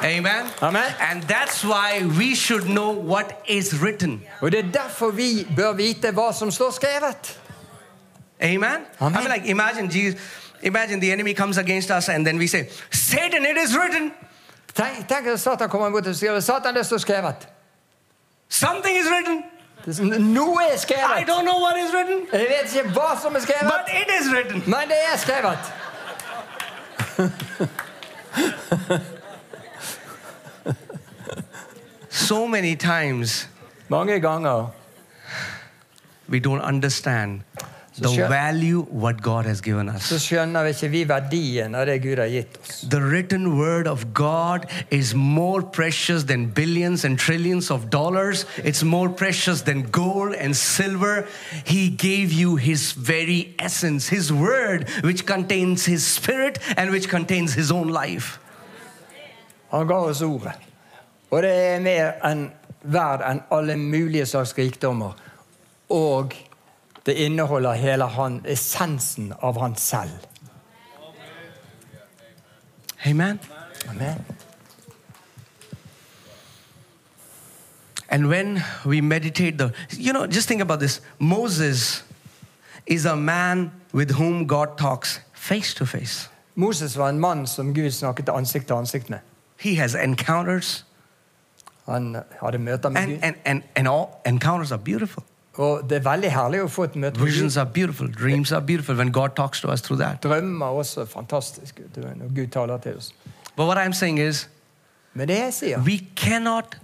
S1: Amen.
S2: Amen.
S1: And that's why we should know what is written.
S2: Og det er derfor vi bør vite hva som står skrevet.
S1: Amen. I
S2: Amen.
S1: mean, like imagine Jesus. Imagine the enemy comes against us, and then we say, "Satan, it is written.
S2: Tenk, tenk at Satan kommer imot og skriver Satan, det står skrevet.
S1: Something is written.
S2: Det er sånn, Noe er
S1: I
S2: skrevet.
S1: don't know what is written,
S2: Jeg vet ikke hva som er
S1: but
S2: skrevet,
S1: it is written."
S2: men det er skrevet.
S1: So many times
S2: Mange ganger
S1: we don't understand the
S2: sure.
S1: value what God has given
S2: så
S1: us.
S2: skjønner vi ikke vi verdien av det Gud har gitt oss.
S1: The written word of God is more precious than billions and trillions of dollars. It's more precious than gold and silver. He gave you His very essence, His word, which contains His spirit and which contains His own life.
S2: Han ga oss ordet. Og det er mer enn verd enn alle mulige slags rikdommer. Og det inneholder hele han, essensen av han selv.
S1: Amen.
S2: Amen.
S1: And when we meditate, the you know, just think about this. Moses is a man with whom God talks face to face.
S2: Moses var en mann som Gud snakket ansikt til ansikt med.
S1: He has encounters,
S2: Han hadde møter med
S1: and
S2: Gud.
S1: and and, and all encounters are beautiful.
S2: Og det er veldig herlig å få et møte med Gud.
S1: Visions are beautiful. Dreams are beautiful when God talks to us through that.
S2: Drømmer også er fantastisk vet du, når Gud taler til oss.
S1: But what I'm saying is,
S2: Men det jeg sier,
S1: we cannot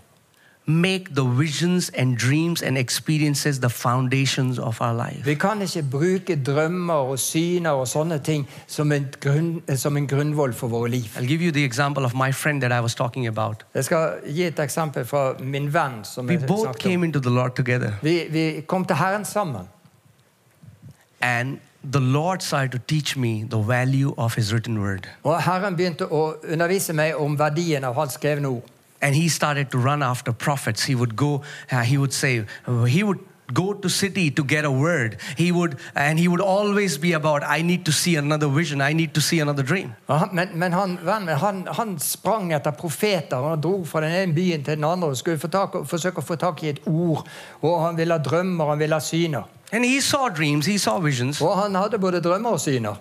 S1: make the visions and dreams and experiences the foundations of our life.
S2: Vi kan ikke bruke drømmer og syner og sånne ting som en, grunn, som en grunnvoll for våre liv.
S1: I'll give you the example of my friend that I was talking about.
S2: Jeg skal gi et eksempel fra min venn. som
S1: We
S2: jeg
S1: both
S2: snakket om.
S1: came into the Lord together,
S2: Vi, vi kom til Herren sammen.
S1: and the Lord started to teach me the value of His written word.
S2: Og Herren begynte å undervise meg om verdien av hans skrevne ord.
S1: And he started to run after prophets. He would go, uh, he would say, he would go to city to get a word. He would, and he would always be about, I need to see another vision. I need to see another dream.
S2: Og han- Men, men han, vennen min, han, han sprang etter profeter. og Han dro fra den ene byen til den andre og skulle få tak, forsøke å få tak i et ord. Og han ville ha drømmer, han ville ha syner.
S1: And he saw dreams, he saw visions.
S2: Og han hadde både drømmer og syner.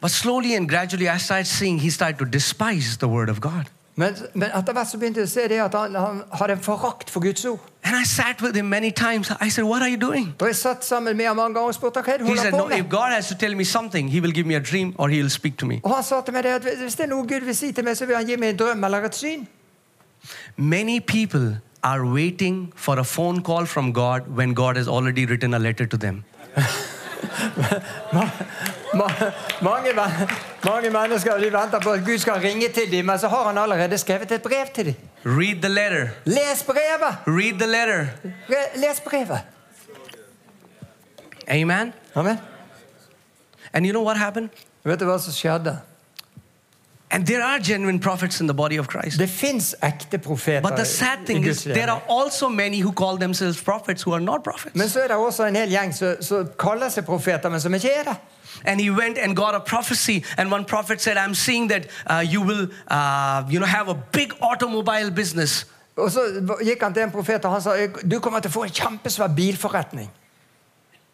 S1: But slowly and gradually, I started seeing he started to despise the word of God.
S2: Men, men etter hvert så begynte jeg å se det at han, han hadde en forakt for Guds ord.
S1: And I sat with him many times. I said, What are you doing?
S2: Da jeg satt sammen med ham mange ganger og spurte hva er det du
S1: He said,
S2: holder på
S1: No, if
S2: med.
S1: God has to tell me something, he will give me a dream or he'll speak to me.
S2: Og han sa til meg det at hvis det er noe Gud vil si til meg, så vil han gi meg en drøm eller et
S1: <laughs>
S2: syn.
S1: Many people are waiting for a phone call from God when God has already written a letter to them.
S2: Ma, ma, mange, men, mange mennesker de venter på at Gud skal ringe til dem, men så har han allerede skrevet et brev til dem.
S1: Read the letter.
S2: Les brevet!
S1: Read the letter.
S2: Re- Les brevet!
S1: Amen.
S2: Amen.
S1: And you know what happened?
S2: Vet du hva som skjedde?
S1: And there are genuine prophets in the body of Christ.
S2: Det fins ekte profeter.
S1: But the sad thing
S2: i
S1: is,
S2: Guds
S1: there
S2: menighet.
S1: are also many who call themselves prophets who are not
S2: Men
S1: prophets.
S2: så er det også en hel gjeng som som kaller seg profeter, men som ikke er det.
S1: And he went and got a prophecy, and one prophet said, "I'm seeing that uh, you will, uh, you know, have a big automobile business."
S2: Og så gikk han til en profet, og han sa du kommer til å få en kjempesvær bilforretning.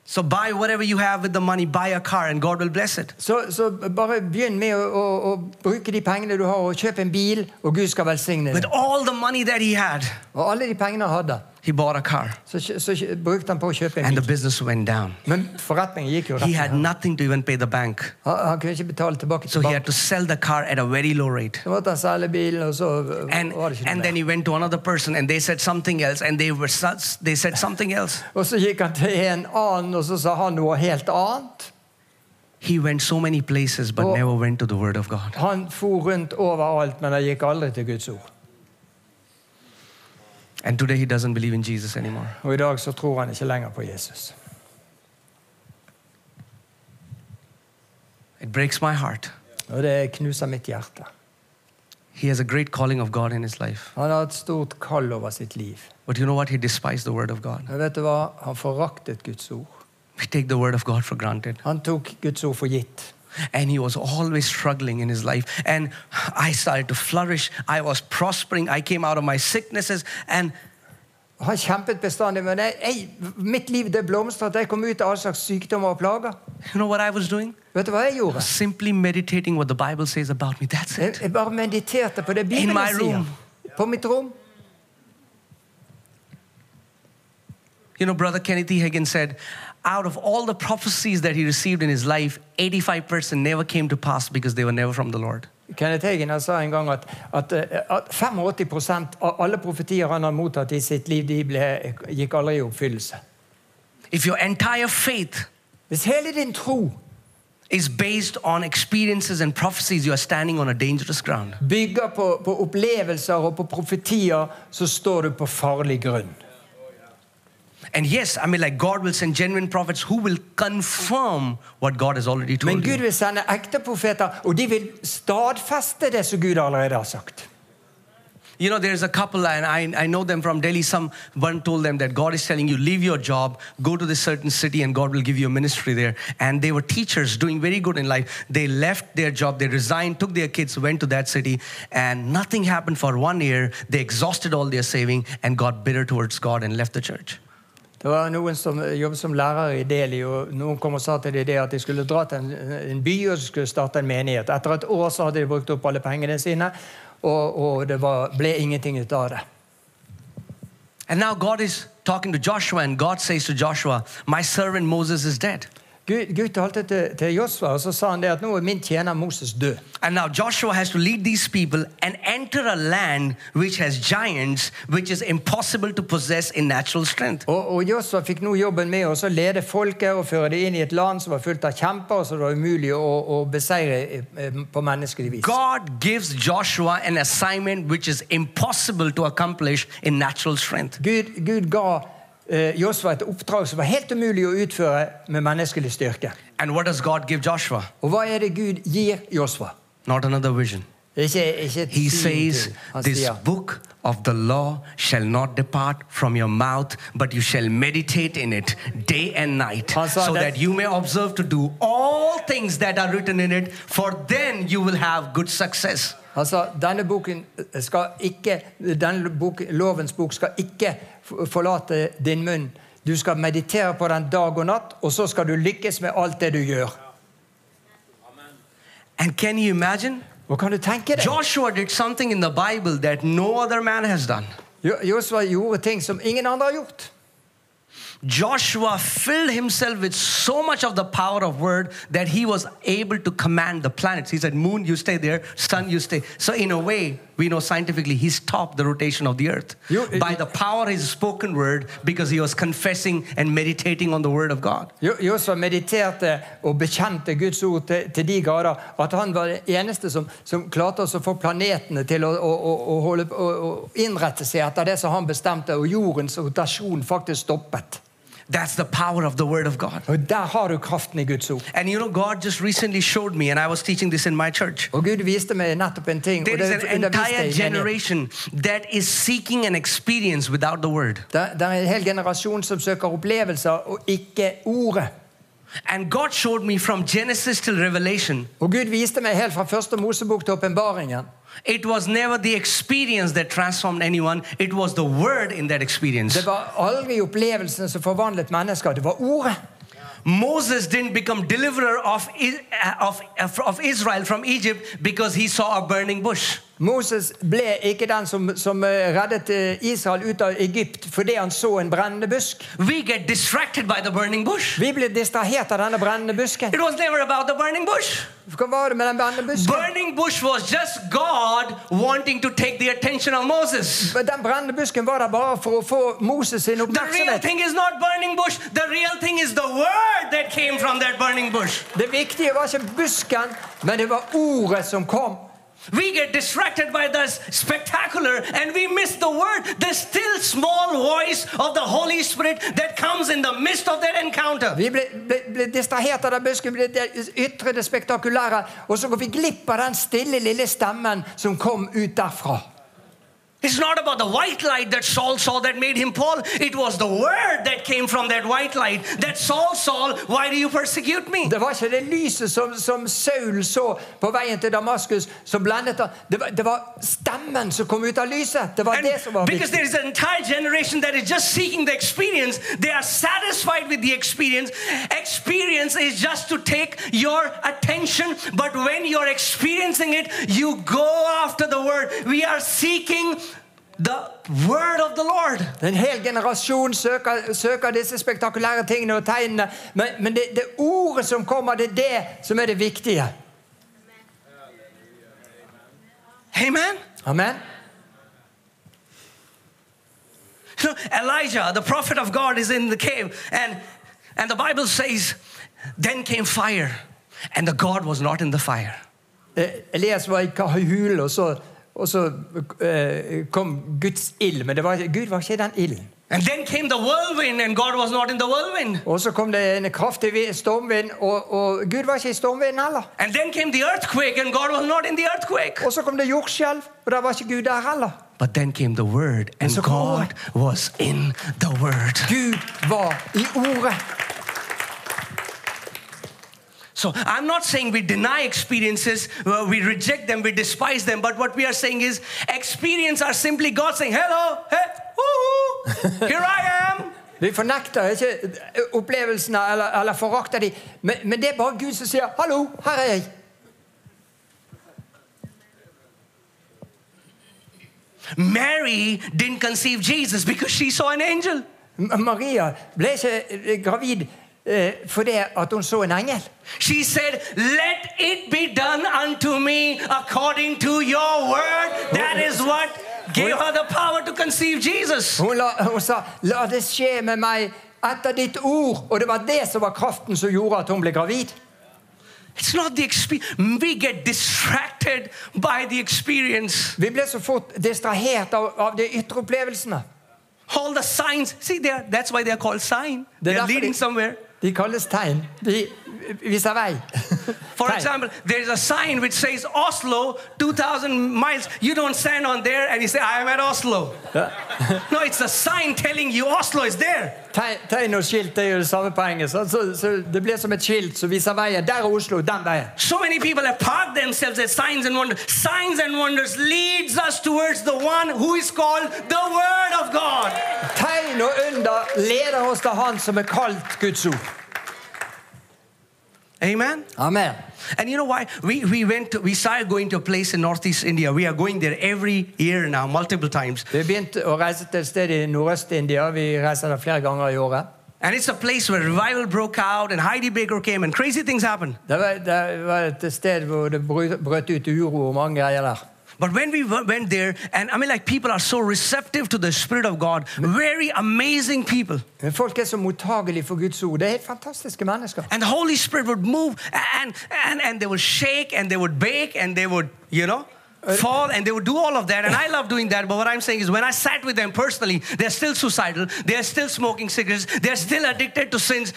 S1: So buy whatever you have with the money, buy a car, and God will bless it.
S2: Så, så bare begynn med å, å, å bruke de pengene du har, og kjøp en bil, og Gud skal velsigne
S1: With
S2: deg.
S1: all the money that he had,
S2: Og alle de pengene han hadde,
S1: he bought a car,
S2: så, kjø- så kjø- brukte han på å kjøpe en
S1: and the
S2: bil.
S1: business went down.
S2: Men forretningen gikk jo
S1: He
S2: rett.
S1: had nothing to even pay the bank.
S2: Han, han kunne ikke betale tilbake
S1: So
S2: til
S1: he had
S2: banken.
S1: to sell the car at a very low rate.
S2: Så måtte han selge bilen, og så øh,
S1: And,
S2: var det ikke
S1: and
S2: noe
S1: then
S2: mer.
S1: he went to another person and they said something else and they were such, they said something else.
S2: Og så gikk han til en annen, og så sa han noe helt annet.
S1: He went so many places but
S2: Oh.
S1: never went to the word of God.
S2: Han for rundt overalt, men han gikk aldri til Guds ord.
S1: And today he doesn't believe in Jesus anymore.
S2: Og i dag så tror han ikke lenger på Jesus.
S1: It breaks my heart.
S2: Og det knuser mitt hjerte.
S1: He has a great calling of God in his life.
S2: Han har et stort kall over sitt liv.
S1: But you know what? He despised the word of God.
S2: Men vet du hva? Han foraktet Guds ord.
S1: We take the word of God for granted.
S2: Han tok Guds ord for gitt.
S1: And he was always struggling in his life. And I started to flourish. I was prospering. I came out of my sicknesses. And
S2: Han kjempet bestandig, men jeg, jeg, mitt liv det blomstret. Jeg kom ut av all slags sykdommer og plager.
S1: you know what I was doing?
S2: Vet du hva jeg gjorde?
S1: Simply meditating what the Bible says about me. That's
S2: Jeg,
S1: it.
S2: jeg bare mediterte på det
S1: In
S2: Bibelen
S1: my room.
S2: sier. På mitt rom.
S1: You know, Brother Kenneth E. Hagin said, out of all the prophecies that he received in his life, 85% never came to pass because they were never from the Lord.
S2: Kenneth Hagen han sa en gang at, at, eh, at 85 av alle profetier han har mottatt i sitt liv, de ble, gikk aldri i oppfyllelse.
S1: If your entire faith
S2: Hvis hele din tro
S1: is based on experiences and prophecies, you are standing on a dangerous ground.
S2: bygger på, på opplevelser og på profetier, så står du på farlig grunn.
S1: And yes, I mean, like God will send genuine prophets who will confirm what God has already
S2: Men
S1: told
S2: Gud
S1: you.
S2: vil sende ekte profeter, og de vil stadfeste det som Gud allerede har sagt.
S1: You know, there's a couple, and I, I know them from Delhi. Someone told them that God is telling you, leave your job, go to this certain city, and God will give you a ministry there. And they were teachers doing very good in life. They left their job, they resigned, took their kids, went to that city, and nothing happened for one year. They exhausted all their saving and got bitter towards God and left the church.
S2: Det var noen som jobbet som lærer i Delhi, og noen kom og sa til dem det at de skulle dra til en, en by og så skulle starte en menighet. Etter et år så hadde de brukt opp alle pengene sine, og, og det var, ble ingenting ut av det.
S1: And now God is talking to Joshua, and God says to Joshua, My servant Moses is dead.
S2: Gud, Gud talte til, til Josva, og så sa han det at nå er min tjener Moses død.
S1: And now Joshua has to lead these people and enter a land which has giants, which is impossible to possess in natural strength.
S2: Og, og Josva fikk nå jobben med å så lede folket og føre det inn i et land som var fullt av kjemper, og som det var umulig å, å beseire eh, på menneskelig vis.
S1: God gives Joshua an assignment which is impossible to accomplish in natural strength.
S2: Gud, Gud ga eh, Josva et oppdrag som var helt umulig å utføre med menneskelig styrke.
S1: And what does God give Joshua?
S2: Og hva er det Gud gir Josva?
S1: Not another vision.
S2: Ikke, ikke et
S1: He
S2: syn
S1: says,
S2: til. Han
S1: This
S2: sier,
S1: book of the law shall not depart from your mouth, but you shall meditate in it day and night,
S2: Han sa
S1: so
S2: det-
S1: that you may observe to do all things that are written in it, for then you will have good success.
S2: Han sa denne boken skal ikke, denne bok, lovens bok skal ikke f- forlate din munn. Du skal meditere på den dag og natt, og så skal du lykkes med alt det du gjør.
S1: And can you imagine?
S2: Og kan du tenke deg?
S1: Joshua did something in the Bible that no other man has done.
S2: Jo- Josua gjorde ting som ingen andre har gjort.
S1: Joshua filled himself with so much of the power of word that he was able to command the planets. He said, Moon, you stay there, sun, you stay. So, in a way, we know scientifically he stopped the rotation of the earth
S2: You-
S1: by the power of his spoken word because he was confessing and meditating on the word of God.
S2: Jo- Josua mediterte og bekjente Guds ord til, til de grader at han var den eneste som, som klarte oss å få planetene til å, å, å, å, holde, å, å innrette seg etter det som han bestemte, og jordens rotasjon faktisk stoppet.
S1: That's the power of the word of God.
S2: Og der har du kraften i Guds ord.
S1: And you know, God just recently showed me, and I was teaching this in my church.
S2: Og Gud viste meg nettopp en ting.
S1: There
S2: og
S1: is
S2: det
S1: an
S2: underviste
S1: entire
S2: jeg i menigheten.
S1: generation that is seeking an experience without the word.
S2: Det det er en hel generasjon som søker opplevelser og ikke ordet.
S1: And God showed me from Genesis till Revelation
S2: Og Gud viste meg helt fra første Mosebok til åpenbaringen
S1: It was never the experience that transformed anyone, it was the word in that experience.
S2: Det var aldri opplevelsen som forvandlet mennesker, det var ordet.
S1: Moses didn't become deliverer of, I- uh, of, of Israel from Egypt because he saw a burning bush.
S2: Moses ble ikke den som, som eh, reddet eh, Israel ut av Egypt fordi han så en brennende busk.
S1: We get distracted by the burning bush.
S2: Vi ble distrahert av denne brennende busken.
S1: It was never about the burning bush.
S2: Hva var det med den brennende busken?
S1: Burning bush was just God wanting to take the attention of Moses.
S2: Den brennende busken var der bare for å få Moses sin
S1: The real
S2: oppmerksomhet.
S1: thing is not burning bush, the real thing is the word that came from that burning bush.
S2: Det viktige var ikke busken, men det var ordet som kom.
S1: We get distracted by the spectacular and we miss the word, the still small voice of the Holy Spirit that comes in the midst of that encounter.
S2: Vi ble, ble, ble distrahert av den busken, ble det ytre, det spektakulære, og så går vi glipp av den stille, lille stemmen som kom ut derfra.
S1: It's not about the white light that Saul saw that made him Paul. It was the word that came from that white light that Saul, Saul, why do you persecute me?
S2: Det var ikke det lyset som, som Saul så på veien til Damaskus, som blendet ham. Det, var- det var stemmen som kom ut av lyset. Det var
S1: And
S2: det som var
S1: because
S2: viktig.
S1: there is an entire generation that is just seeking the experience, they are satisfied with the experience. Experience is just to take your attention, but when you're experiencing it, you go after the word. We are seeking the word of the Lord.
S2: En hel generasjon søker, søker disse spektakulære tingene og tegnene, men, men det, det ordet som kommer, det er det som er det viktige.
S1: Amen.
S2: Amen?
S1: So Elijah, the prophet of God, is in the cave, and and the Bible says, then came fire, and the God was not in the fire.
S2: Eh, Elias var i kahulen, og så, og så eh, kom Guds ild. Men det var, ikke- Gud var ikke i den ilden.
S1: And then came the whirlwind, and God was not in the whirlwind.
S2: Og så kom det en kraftig vi- stormvind, og, og Gud var ikke i stormvinden heller.
S1: And then came the earthquake, and God was not in the earthquake.
S2: Og så kom det jordskjelv, og der var ikke Gud der heller.
S1: But then came the word, and
S2: så kommer
S1: God was in the word.
S2: Gud var i ordet.
S1: So I'm not saying we deny experiences, uh, we reject them, we despise them. But what we are saying is, experience are simply God saying, "Hello, hey, woo, here I am."
S2: Vi fornekter ikke opplevelsene eller, eller forakter dem, men, men det er bare Gud som sier 'hallo, her er jeg'.
S1: Mary didn't conceive Jesus because she saw an angel.
S2: M- Maria ble ikke gravid eh, fordi at hun så en engel.
S1: She said, Let it be done unto me according to your word. That is what gave her the power to conceive Jesus.
S2: Hun, la, hun sa 'la det skje med meg etter ditt ord'. Og det var det som var kraften som gjorde at hun ble gravid.
S1: It's not the experience. We get distracted by the experience.
S2: Vi ble så fort distrahert av, av de ytre opplevelsene.
S1: All the signs. See, they are, that's why they're called sign.
S2: Det er
S1: They're
S2: derfor
S1: leading
S2: de-
S1: somewhere.
S2: De kalles tegn. De viser vei.
S1: For
S2: Tegn.
S1: example, there is a sign which says Oslo, 2,000 miles. You don't stand on there and you say, I am at <laughs> Oslo. no, it's a sign telling you Oslo is there.
S2: Tegn, tegn og skilt er jo det samme poenget. Så, så, så det ble som et skilt som viser veien. Der er Oslo, den veien.
S1: So many people have parked themselves as signs and wonders. Signs and wonders leads us towards the one who is called the Word of God.
S2: Tegn og under leder oss til Han som er kalt Guds ord.
S1: Amen.
S2: Amen.
S1: And you know why? We, we went, to, we started going to a place in Northeast India. We are going there every year now, multiple times.
S2: Vi begynte å reise til et sted i Nordøst-India. Vi reiser der flere ganger i året.
S1: And it's a place where revival broke out and Heidi Baker came and crazy things happened.
S2: Det var, det var et sted hvor det brøt brøt ut uro og mange greier der.
S1: But when we w- went there, and I mean, like, people are so receptive to the Spirit of God, very amazing people.
S2: Men folk er så mottagelige for Guds ord. Det er helt fantastiske mennesker.
S1: And the Holy Spirit would move, and, and, and they would shake, and they would bake, and they would, you know,
S2: Uh,
S1: fall, and they would do all of that. And I love doing that. But what I'm saying is, when I sat with them personally, they're still suicidal, they're still smoking cigarettes, they're still addicted to sins.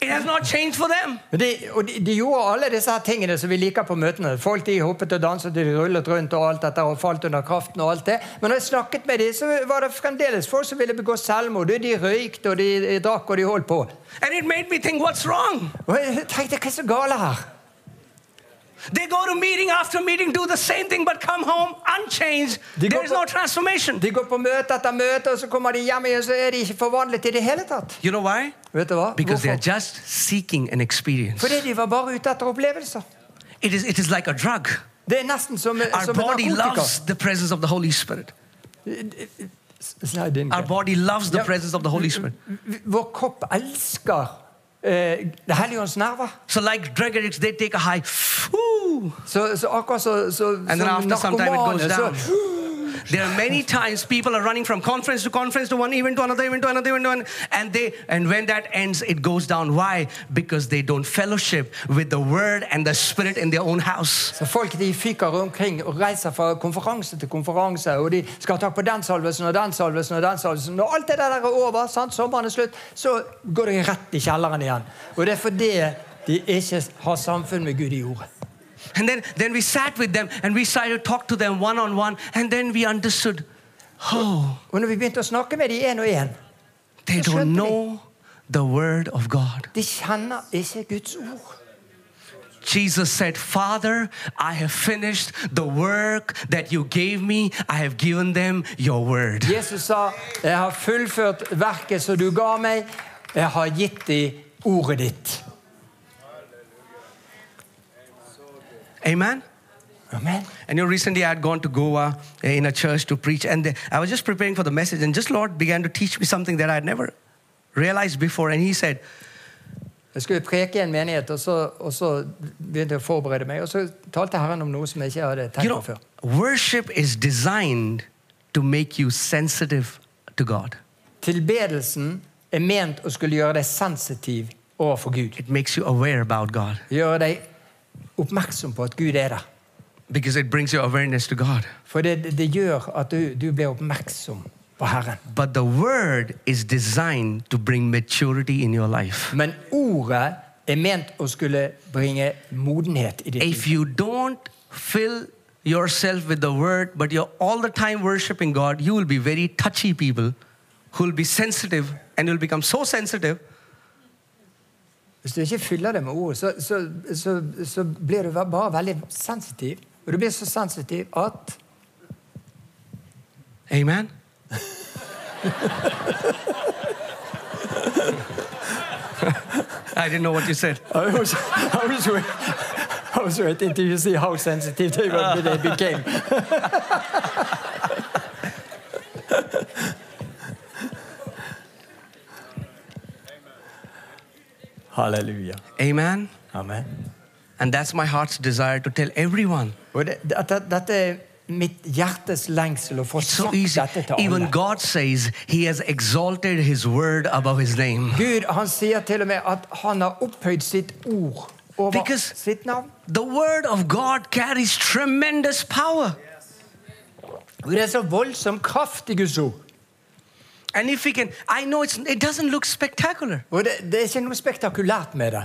S1: It has not changed for them.
S2: Men De, og de, de gjorde alle disse her tingene som vi liker på møtene. Folk de hoppet og danset og de rullet rundt og alt dette og falt under kraften og alt det. Men når jeg snakket med dem, så var det fremdeles folk som ville begå selvmord. De de røykte og de, de drakk og de holdt på.
S1: And it made me think, what's wrong?
S2: Og jeg tenkte, hva er så gale her?
S1: They go to meeting after meeting, do the same thing, but come home unchanged.
S2: They go
S1: There is
S2: for-
S1: no transformation.
S2: De går på møte etter møte, og så kommer de hjem igjen, så er de ikke forvandlet i det hele tatt.
S1: You know why?
S2: Vet du hva?
S1: Because they are
S2: Hvorfor?
S1: just seeking an experience.
S2: Fordi de var bare ute etter opplevelser.
S1: It is, it is like a drug.
S2: Det er nesten som,
S1: Our
S2: som en
S1: body
S2: narkotika.
S1: loves the presence of the Holy Spirit.
S2: Slide inn.
S1: Our body loves the
S2: Yeah.
S1: presence of the Holy Spirit.
S2: Vår kropp elsker eh, Det hellige ånds nerver.
S1: So, like drug addicts, they take a high, Ooh.
S2: Så, så akkurat så, så
S1: and then
S2: som
S1: after some time it goes
S2: narkomane så,
S1: down. There are
S2: <laughs>
S1: many times people are running from conference to conference to one event to another event to another event, to another, and they and when that ends, it goes down. Why? Because they don't fellowship with the Word and the Spirit in their own house.
S2: så folk de fyker omkring og reiser fra konferanse til konferanse. Og de skal ha tak på den salvelsen og den salvelsen og den salvelsen. Når alt det der er over, sant, sommeren er slutt, så går de rett i kjelleren igjen. Og det er fordi de ikke har samfunn med Gud i jordet.
S1: And then, then we sat with them and we started to talk to them one on one. And then we understood, oh,
S2: Og når vi begynte å snakke med de én og én
S1: they
S2: That's
S1: don't
S2: happening.
S1: know the word of God.
S2: De kjenner ikke Guds ord.
S1: Jesus said, Father, I have finished the work that you gave me. I have given them your word.
S2: Jesus sa, 'Jeg har fullført verket som du ga meg. Jeg har gitt dem ordet ditt.'
S1: Amen.
S2: Amen.
S1: And you know, recently I had gone to Goa eh, in a church to preach, and the- I was just preparing for the message, and just Lord began to teach me something that I had never realized before. And He said,
S2: Jeg skulle preke i en menighet, og så, og så begynte jeg å forberede meg. Og så talte Herren om noe som jeg ikke hadde
S1: You
S2: tenkt
S1: know,
S2: på før.
S1: worship is designed to make you sensitive to God.
S2: Tilbedelsen er ment å skulle gjøre deg sensitiv overfor Gud.
S1: It makes you aware about God
S2: Gjøre deg oppmerksom på at Gud er der.
S1: because it brings your awareness to God.
S2: For det, det gjør at du, du blir oppmerksom på Herren.
S1: But the word is designed to bring maturity in your life.
S2: Men ordet er ment å skulle bringe modenhet i ditt liv.
S1: If you don't fill yourself with the word, but you're all the time worshiping God, you will be very touchy people who will be sensitive and you'll become so sensitive.
S2: Hvis du ikke fyller det med ord, så, så, så, så blir du bare veldig sensitiv. Og du blir så sensitiv at
S1: Amen. <laughs> I didn't know what you said.
S2: <laughs> I was, I was, wait, I was waiting till you see how sensitive they, were, they became. <laughs> Halleluja.
S1: Amen.
S2: Amen.
S1: And that's my heart's desire to tell everyone.
S2: Og det, dette, dette er mitt hjertes lengsel å få
S1: It's so
S2: sagt
S1: easy.
S2: dette til
S1: Even
S2: alle.
S1: God says He has exalted His word above His name.
S2: Gud han sier til og med at han har opphøyd sitt ord over
S1: Because-
S2: sitt navn.
S1: The word of God carries tremendous power.
S2: Og Det er så voldsom kraft i Guds ord.
S1: And if we can, I know it's, it doesn't look spectacular,
S2: Og det, det er ikke noe spektakulært med det.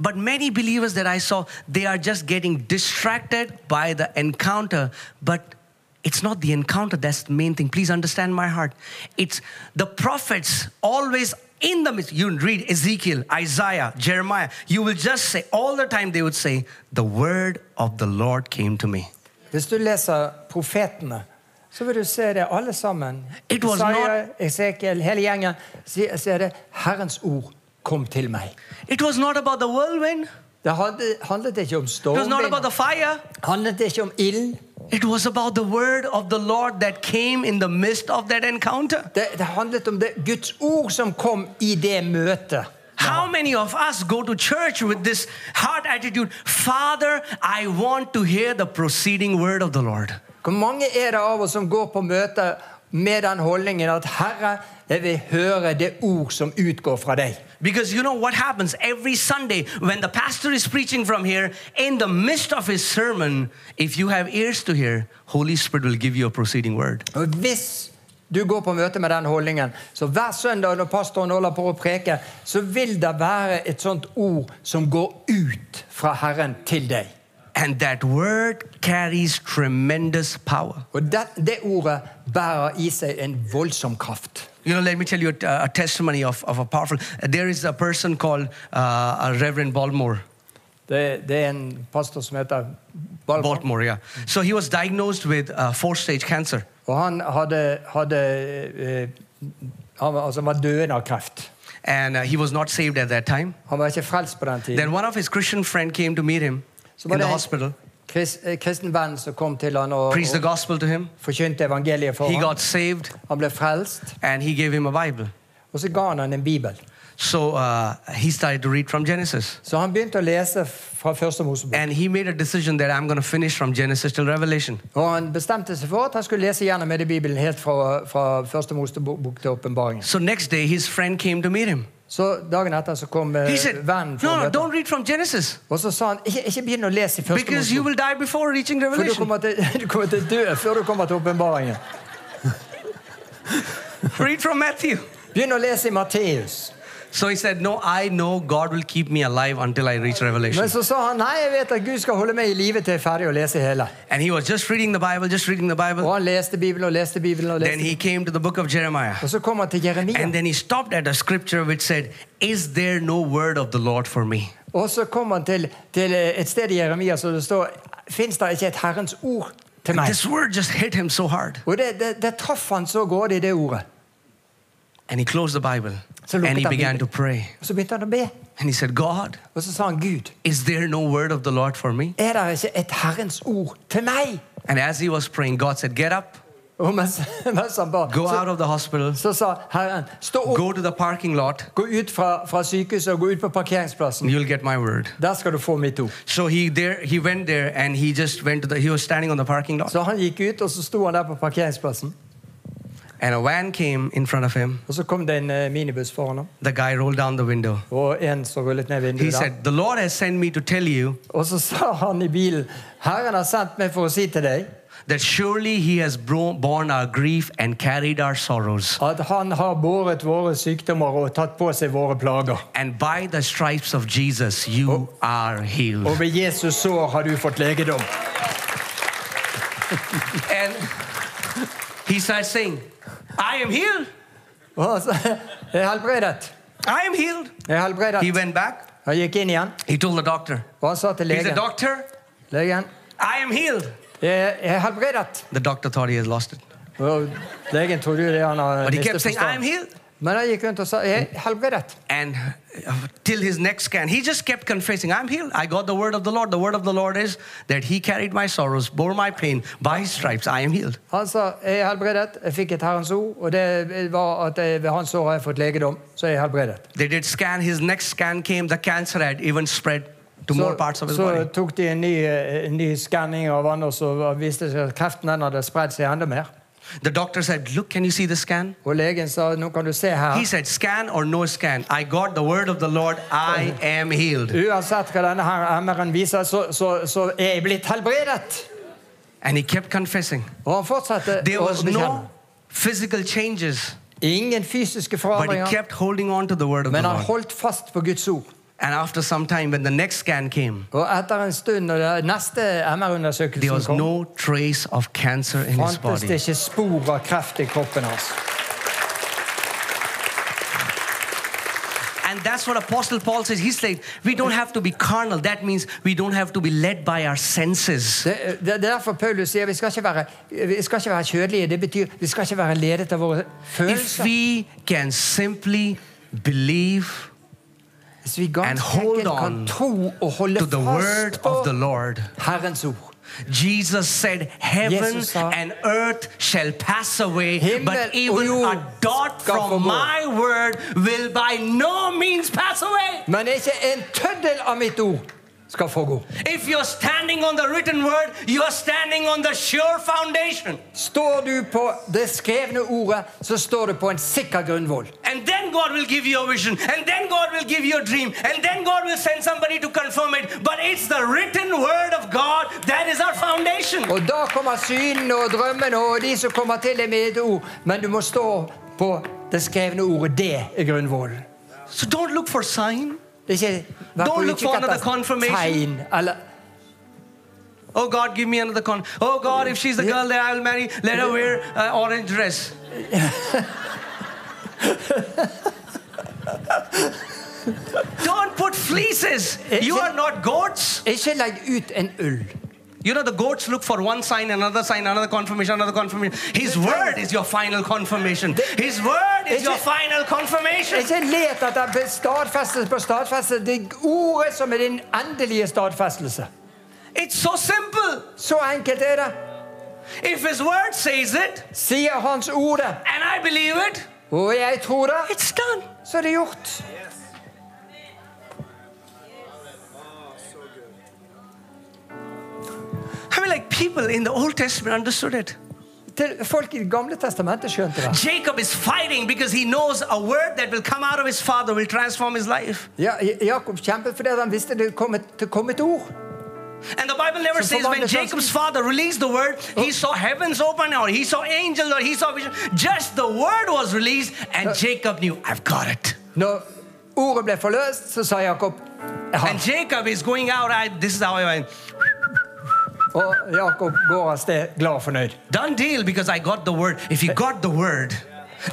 S1: but many believers that I saw, they are just getting distracted by the encounter. But it's not the encounter that's the main thing. Please understand my heart. It's the prophets always in the midst. You read Ezekiel, Isaiah, Jeremiah. You will just say, all the time they would say, The word of the Lord came to me.
S2: Hvis du leser profetene, så vil du se det alle sammen.
S1: It was
S2: Isaiah, Esekiel, hele gjengen sier sier det 'Herrens ord kom til meg'.
S1: It was not about the whirlwind,
S2: Det handlet, handlet ikke om
S1: it was not about
S2: stormvind,
S1: the fire.
S2: handlet ikke om ild.
S1: It was about the word of the Lord that came in the midst of that encounter.
S2: Det, det handlet om det Guds ord som kom i det møtet.
S1: How many of us go to church with this heart attitude? Father, I want to hear the proceeding word of the Lord.
S2: Hvor mange er det av oss som går på møter med den holdningen at 'Herre, jeg vil høre det ord som utgår fra deg'?
S1: Because you know what happens every Sunday when the pastor is preaching from here, in the midst of his sermon, if you have ears to hear, Holy Spirit will give you a proceeding word.
S2: Og hvis du går på møte med den holdningen, så hver søndag når pastoren holder på å preke, så vil det være et sånt ord som går ut fra Herren til deg.
S1: And that word carries tremendous power.
S2: Og det, det ordet bærer i seg en voldsom kraft.
S1: You know, let me tell you a, a testimony of, of a powerful. There is a person called uh, uh, Reverend Balmore.
S2: Det, det er en pastor som heter Balmor,
S1: Baltimore, yeah. So he was diagnosed with uh, four stage cancer.
S2: og han hadde, hadde eh, han, var- altså, han var døende av kreft.
S1: And uh, he was not saved at that time.
S2: Han var ikke frelst på den tiden.
S1: Then one of his Christian friend came to meet him
S2: Så
S1: in
S2: var
S1: the
S2: det
S1: hospital,
S2: en krist, eh, kristen venn som kom til han og,
S1: preached the
S2: og
S1: gospel to him.
S2: forkynte evangeliet for
S1: He
S2: ham.
S1: got saved
S2: Han ble frelst,
S1: and he gave him a Bible.
S2: og så ga han han en bibel.
S1: So uh, he started to read from Genesis.
S2: Så han begynte å lese fra første Mosebok.
S1: And he made a decision that I'm going to finish from Genesis till Revelation.
S2: Og han bestemte seg for at han skulle lese gjennom hele Bibelen helt fra, fra første Mosebok til åpenbaringen.
S1: So next day, his friend came to meet him.
S2: Så dagen etter så kom eh,
S1: He said,
S2: vennen for å
S1: No, no,
S2: møte ham.
S1: don't read from Genesis
S2: Og så sa han ikke, ikke begynn å lese i første
S1: because you
S2: Mosebok,
S1: will die before reaching
S2: for du
S1: Revelation. <laughs>
S2: kommer, til, <laughs> du kommer til å dø før du kommer til åpenbaringen.
S1: Read from Matthew.
S2: Begynn å lese i Matteus.
S1: So he said, No, I know God will keep me alive until I reach Revelation.
S2: Men så sa han nei, jeg vet at Gud skal holde meg i live til jeg er ferdig å lese hele.
S1: And he was just reading the Bible, just reading the
S2: Og
S1: Bible.
S2: han leste Bibelen og leste Bibelen. Og
S1: Then
S2: leste
S1: he came to the book of Jeremiah.
S2: Og så kom han til Jeremia.
S1: And then he stopped at a scripture which said, Is there no word of the Lord for me?
S2: Og så kom han til, til et sted i Jeremia som det står Fins det ikke et Herrens ord til meg?
S1: This word just hit him so hard.
S2: Og det, det, det traff han så godt i det ordet.
S1: And he closed the Bible.
S2: Så lukket
S1: And he
S2: han
S1: began to
S2: Bibelen.
S1: pray.
S2: Og så begynte han å be.
S1: And he said, God,
S2: Og så sa han, Gud,
S1: is there no word of the Lord for me?
S2: er det ikke et Herrens ord til meg?
S1: And as he was praying, God said, Get up,
S2: Og mens, <laughs> mens han ba,
S1: go
S2: så,
S1: out of the hospital,
S2: så sa Herren, stå opp,
S1: go to the parking lot,
S2: gå ut fra, fra sykehuset og gå ut på
S1: and
S2: parkeringsplassen.
S1: you'll get my word.
S2: Der skal du få mitt ord.
S1: So he there he went there and he just went to the he was standing on the parking lot
S2: Så han gikk ut, og så sto han der på parkeringsplassen.
S1: and a van came in front of him.
S2: Og så kom det en eh, minibuss foran ham,
S1: The guy rolled down the window.
S2: og en som rullet ned
S1: He
S2: vinduet. der.
S1: said, "The Lord has sent me to tell you
S2: Og så sa han i bilen, Herren har sendt meg for å si til deg
S1: that surely He has bro- borne our grief and carried our sorrows,
S2: at han har båret våre sykdommer og tatt på seg våre plager.
S1: and by the stripes of Jesus you are
S2: Og
S1: healed."
S2: ved Jesus sår har du fått legedom.
S1: And he starts saying, "I am healed.
S2: Og han sa, jeg er helbredet.
S1: I am healed."
S2: Jeg er
S1: He
S2: helbredet.
S1: went back.
S2: Han gikk inn igjen,
S1: He told the doctor,
S2: og han sa til
S1: "He's a
S2: legen,
S1: doctor.
S2: legen
S1: I am healed."
S2: jeg jeg er helbredet.
S1: The doctor thought he had lost it,
S2: Og legen trodde jo det han har
S1: but he kept
S2: mistet
S1: saying, "I am
S2: forstand.
S1: healed."
S2: Men han gikk rundt og sa jeg er helbredet.
S1: And uh, till his next scan, he just kept confessing, I'm healed. I got the word of the Lord. The word of the Lord is that he carried my sorrows, bore my pain. By his stripes, I am healed.
S2: Han sa jeg er helbredet, jeg fikk et Herrens ord, og det var at jeg, ved hans år har jeg fått legedom, så jeg er helbredet.
S1: They did scan. His next scan came. The cancer had even spread to more parts
S2: Så,
S1: of his
S2: så
S1: body.
S2: tok de en ny, eh, en ny skanning av han, og så viste det seg at kreften den hadde spredd seg enda mer.
S1: The doctor said, Look, can you see the scan?
S2: Og legen sa nå kan du se
S1: He
S2: her.
S1: said, Scan or no scan. I got the word of the Lord. I am healed.
S2: Uansett hva denne her MR-en viser, så, så, så er jeg blitt helbredet.
S1: And he kept confessing.
S2: Og han fortsatte
S1: There
S2: å
S1: was
S2: bekjenne.
S1: no physical changes,
S2: Ingen fysiske
S1: but he
S2: forandringer,
S1: kept holding on to the word of the
S2: men han
S1: Lord.
S2: holdt fast på Guds ord.
S1: And after some time, when the next scan came,
S2: Og etter en stund, når det neste
S1: there
S2: MR-undersøkelsen
S1: was
S2: kom,
S1: no trace of cancer in his
S2: fantes
S1: body.
S2: det ikke spor av kreft i kroppen hans.
S1: And that's what Apostle Paul says. He's like, we don't have to be carnal. That means we don't have to be led by our senses.
S2: Det, det, det er derfor Paulus sier vi skal ikke være, vi skal ikke være kjødelige. Det betyr vi skal ikke være ledet av våre
S1: If
S2: følelser.
S1: we can simply believe
S2: Hvis vi
S1: and
S2: ganske
S1: hold
S2: enkelt kan
S1: on
S2: tro og
S1: to
S2: holde
S1: the word
S2: fast på
S1: of the Lord,
S2: Herrens ord.
S1: Jesus said, Heaven
S2: Jesus sa-
S1: and earth shall pass away,
S2: Himmel
S1: but
S2: og
S1: even
S2: jord
S1: a dot
S2: skal
S1: from
S2: forgå."
S1: my word will by no means pass away.
S2: Men ikke en tøddel av mitt ord skal forgå.
S1: If you're standing on the written word, you're standing on the sure foundation.
S2: Står du på det skrevne ordet, så står du på en sikker grunnvoll.
S1: And then God will give you a vision, and then God will give you a dream, and then God will send somebody to confirm it. But it's the written word of God that is our foundation.
S2: Og da kommer synene og drømmene og de som kommer til deg med et ord. Men du må stå på det skrevne ordet. Det er grunnvollen.
S1: So don't look for sign.
S2: Det er ikke, vær på
S1: Don't look
S2: utkikk
S1: for another
S2: etter
S1: confirmation.
S2: tegn eller
S1: Oh God, give me another con. Oh God, if she's the girl that I'll marry, let her wear uh, orange dress. Don't put fleeces. You are not goats.
S2: Ikke legg ut en ull.
S1: You know the goats look for one sign, another sign, another confirmation, another confirmation. His word is your final confirmation. His word is
S2: Is
S1: your
S2: it-
S1: final confirmation.
S2: Ikke let etter stadfestelse på stadfestelse. Det er ordet som er din endelige stadfestelse.
S1: It's so simple.
S2: Så enkelt er det.
S1: If His word says it
S2: Sier Hans ordet,
S1: and I believe it,
S2: og jeg tror det,
S1: it's done.
S2: så er det gjort.
S1: I mean, like people in the Old Testament understood it.
S2: Til folk i Det gamle testamentet skjønte det.
S1: Jacob is fighting because he knows a word that will come out of his father will transform his life.
S2: Ja, Jakob kjempet fordi han visste det kom et, det kom et ord.
S1: And the Bible never
S2: So
S1: says when
S2: Father transform-
S1: Jacob's father released the word, he saw heavens open or he saw angels or he saw vision. Just the word was released and Jacob knew, I've got it.
S2: Når ordet ble forløst, så sa Jakob jeg
S1: And
S2: har.
S1: Jacob is going out, I, this is how I went,
S2: Og Jakob går av sted glad og fornøyd.
S1: done deal because I got the word. If you got the word,